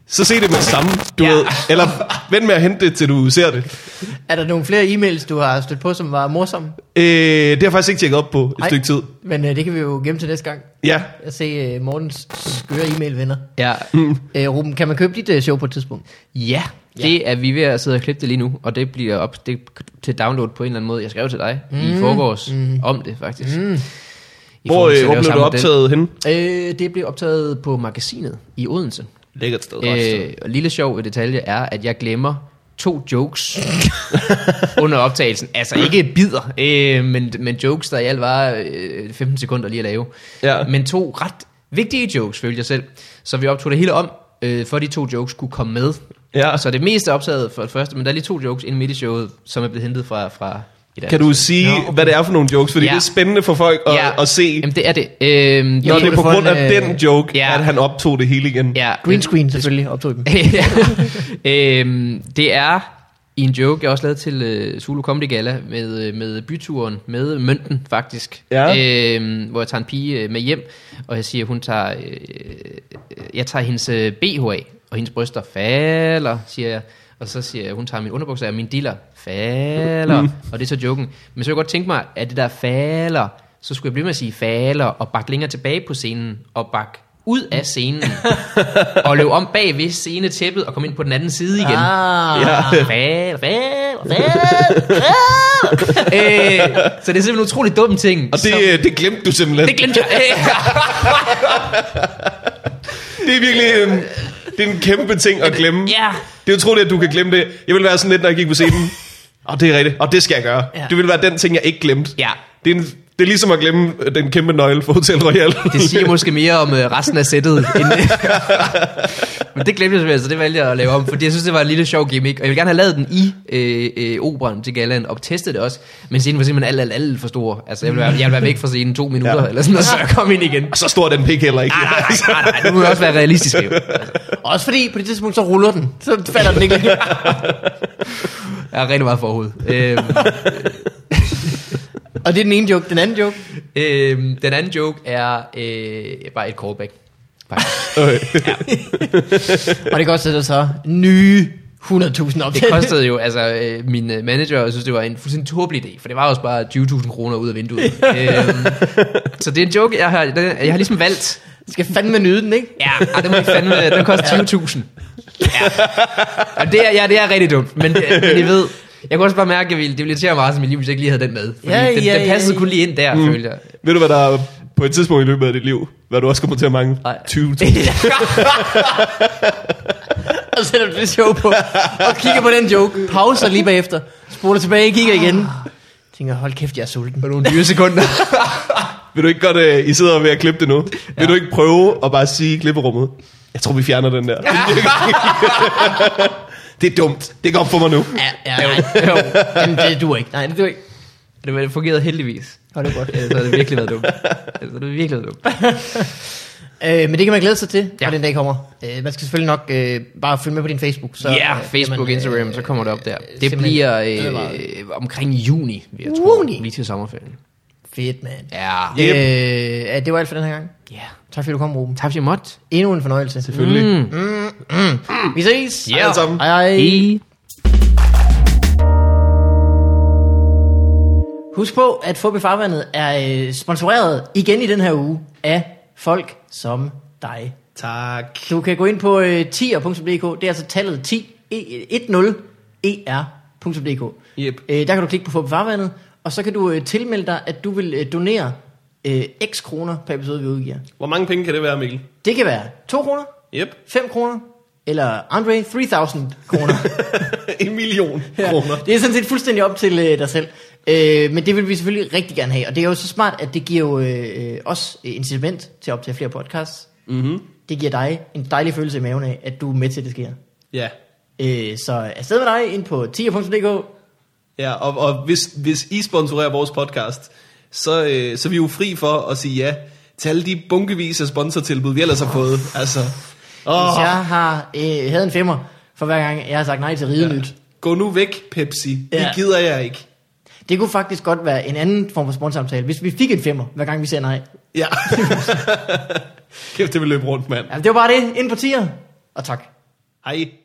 B: så se det med det samme, du ja.
D: Ja.
B: ved. Eller vent med at hente det, til du ser det.
A: Er der nogle flere e-mails, du har stødt på, som var morsomme?
B: Øh, det har jeg faktisk ikke tjekket op på et
A: Ej.
B: Ej. stykke tid.
A: Men øh, det kan vi jo gemme til næste gang.
B: Ja,
A: At se uh, Mortens skøre e-mail-venner.
D: Ja.
A: Uh, Ruben, kan man købe dit uh, show på et tidspunkt?
D: ja, det er vi ved at sidde og klippe det lige nu, og det bliver op det er til download på en eller anden måde. Jeg skrev til dig mm. i forgårs mm. om det, faktisk. Mm.
B: hvor, øh, hvor blev du optaget henne?
D: Øh, det blev optaget på magasinet i Odense.
B: Lækkert sted.
D: Øh, og lille sjov detalje er, at jeg glemmer to jokes *laughs* under optagelsen. Altså ikke bider, øh, men, men jokes, der i alt var øh, 15 sekunder lige at lave.
B: Ja.
D: Men to ret vigtige jokes, følte jeg selv. Så vi optog det hele om, øh, for de to jokes kunne komme med.
B: Ja.
D: Så det meste er optaget for det første, men der er lige to jokes inden midt i showet, som er blevet hentet fra, fra et andet
B: Kan du
D: show.
B: sige, no, okay. hvad det er for nogle jokes? Fordi ja.
D: Ja.
B: det er spændende for folk at, ja.
D: Ja.
B: at se,
D: Jamen det er det. Øh,
B: når det er på
A: for
B: grund
A: en,
B: af
A: øh,
B: den joke,
D: ja.
B: at han optog det hele igen.
D: ja,
A: Green screen selvfølgelig optog I dem.
D: *laughs* øhm, det er i en joke, jeg også lavede til øh, Zulu Comedy Gala med, øh, med byturen, med Mønten faktisk,
B: Ja.
D: øhm, hvor jeg tager en pige øh, med hjem, og jeg siger, hun tager, øh, øh, jeg tager hendes øh, BH af, og hendes bryster falder, siger jeg. Og så siger jeg, hun tager min underbukser af, og min diller falder. Mm. Og det er så joken. Men så kunne jeg godt tænke mig, at det der falder, så skulle jeg blive med at sige falder, og bakke længere tilbage på scenen, og bakke ud af scenen, og løbe om bag ved scenetæppet, og komme ind på den anden side igen. Ah.
A: Ah,
B: Ja.
D: Fal, fal, fal, fal. øh, så det er simpelthen en utrolig dum ting.
B: Og det,
D: som,
B: øh, det glemte du simpelthen.
D: det glemte jeg. *laughs* Øh,
B: Det er virkelig en, det er en kæmpe ting at glemme.
D: Ja.
B: Det er utroligt, at du kan glemme det. Jeg ville være sådan lidt, når jeg gik på
D: *laughs*
B: scenen. Og det er rigtigt. Og det skal jeg gøre.
A: Ja.
B: Det ville være den ting, jeg ikke glemte.
D: Ja.
B: Det er, en, det er ligesom at glemme øh, den kæmpe nøgle for Hotel Royal.
D: Det
B: *laughs*
D: siger måske mere om øh, resten af sættet. End, *laughs* men det glemte jeg selvfølgelig, så det valgte jeg at lave om, fordi jeg synes, det var en lille sjov gimmick. Og jeg ville gerne have lavet den i øh, øh, operan til galaen, og testet det også. Men scenen var simpelthen alt, alt, alt for stor. Altså, jeg ville være, jeg ville være væk fra scenen to minutter,
B: Ja.
D: ja. eller sådan, og så kom ind igen.
B: Så stor er den pik heller ikke.
D: Ah,
B: *laughs*
D: nej, nej, nej, nej, nu må jeg også være realistisk. Jo.
A: Også fordi på det tidspunkt, så ruller den. Så falder den
D: *laughs*
A: ikke.
D: Jeg har rigtig meget forhoved. Øhm,
A: Og det er den ene joke. Den anden joke.
D: øhm, den anden joke er øh, bare et callback. Faktisk.
B: Okay.
A: Og det kostede dig så nye 100.000 op.
D: Det kostede jo, altså øh, min øh, manager jeg synes, det var en fuldstændig tåbelig idé, for det var også bare 20.000 kroner ud af vinduet. øhm, så det er en joke, jeg har, den, jeg har ligesom valgt.
A: Skal fandme nyde den, ikke?
D: Ja, ah, den må ikke fandme, den koster 20.000. Ja. Og det er, ja, det er rigtig dumt, men, det, men jeg ved, jeg kunne også bare mærke, at jeg ville, det ville irritere mig resten af mit liv, hvis jeg ikke lige havde den med. Fordi
A: Ja,
D: ja, den,
A: ja,
D: ja, den
A: ja,
D: passede
A: ja.
D: kun lige ind der, mm. følte jeg.
B: Ved du, hvad der er på et tidspunkt i løbet af dit liv, hvad du også kommer til at mangle?
D: Nej.
B: 20.000.
A: Og så sætter du det show på. Og kigger på den joke. Pauser lige bagefter. Spoler tilbage, kigger igen. Tænker, hold kæft, jeg er sulten.
D: På nogle dyre sekunder.
B: Vil du ikke godt, øh, I sidder ved at klippe det nu, vil du ikke prøve at bare sige i klipperummet, jeg tror, vi fjerner den der. det er dumt. Det går op for mig nu.
A: Ja, ja, nej. Jo. Jamen, det duer ikke. *laughs* Nej, det duer ikke.
D: det, var- det fungerede heldigvis.
A: Og det Øh, er godt.
D: Ellers havde det virkelig været dumt.
A: Altså,
D: Ellers havde det virkelig været dumt.
A: Øh, men det kan man glæde sig til, når
D: Ja.
A: den dag kommer. Øh, man skal selvfølgelig nok øh, bare følge med på din Facebook. Så,
D: Ja, yeah,
A: øh,
D: Facebook,
A: jamen, øh,
D: Instagram, så kommer det op der. Det
A: simpelthen
D: bliver øh,
A: advaret.
D: omkring juni, vil jeg tro.
A: Juni?
D: Lige til sommerferien.
A: Fedt, mand.
D: Ja.
B: Yep.
A: Øh, ja, det var alt for den her gang.
D: Ja.
A: Tak fordi du kom, Ruben.
D: Tak fordi jeg måtte.
A: Endnu en fornøjelse.
B: Selvfølgelig. Mm.
A: Vi ses.
D: Ja.
B: Alle sammen.
A: Hej, hej.
D: Hej.
A: Husk på, at Fubi Farvandet er øh, sponsoreret igen i den her uge af folk som dig.
B: Tak.
A: Du kan gå ind på øh, 10er.dk, det er altså tallet 10, e- 10er.dk.
B: Yep.
A: Øh, der kan du klikke på Fubi Farvandet, og så kan du øh, tilmelde dig, at du vil øh, donere øh, x kroner per episode, vi udgiver.
B: Hvor mange penge kan det være, Mikkel?
A: Det kan være 2 kroner,
B: Yep.
A: 5 kroner, eller Andre 3000 kroner.
B: *laughs* en million
A: Ja,
B: kroner.
A: Det er sådan set fuldstændig op til øh, dig selv. Øh, men det vil vi selvfølgelig rigtig gerne have. Og det er jo så smart, at det giver jo øh, øh, os øh, incitament til at optage flere podcasts. Mm-hmm. Det giver dig en dejlig følelse i maven af, at du er med til, at det sker.
B: Ja.
A: Øh, så afsted med dig ind på tier.dk.
B: ja og, og hvis, hvis I sponsorerer vores podcast, så, øh, så er vi jo fri for at sige ja til alle de bunkevis af sponsortilbud, vi ellers har fået. Altså,
A: Hvis
B: åh,
A: jeg har, øh, havde en femmer for hver gang, jeg har sagt nej til ridenyt. Ja.
B: gå nu væk, Pepsi. Ja.
A: Ja.
B: Det gider jeg ikke.
A: Det kunne faktisk godt være en anden form for sponsorsamtale, hvis vi fik en femmer, hver gang vi sagde nej.
B: Ja. *laughs* Kæft, det vil løbe rundt, mand.
A: Ja, det var bare det. Ind på tier. Og tak.
B: Hej.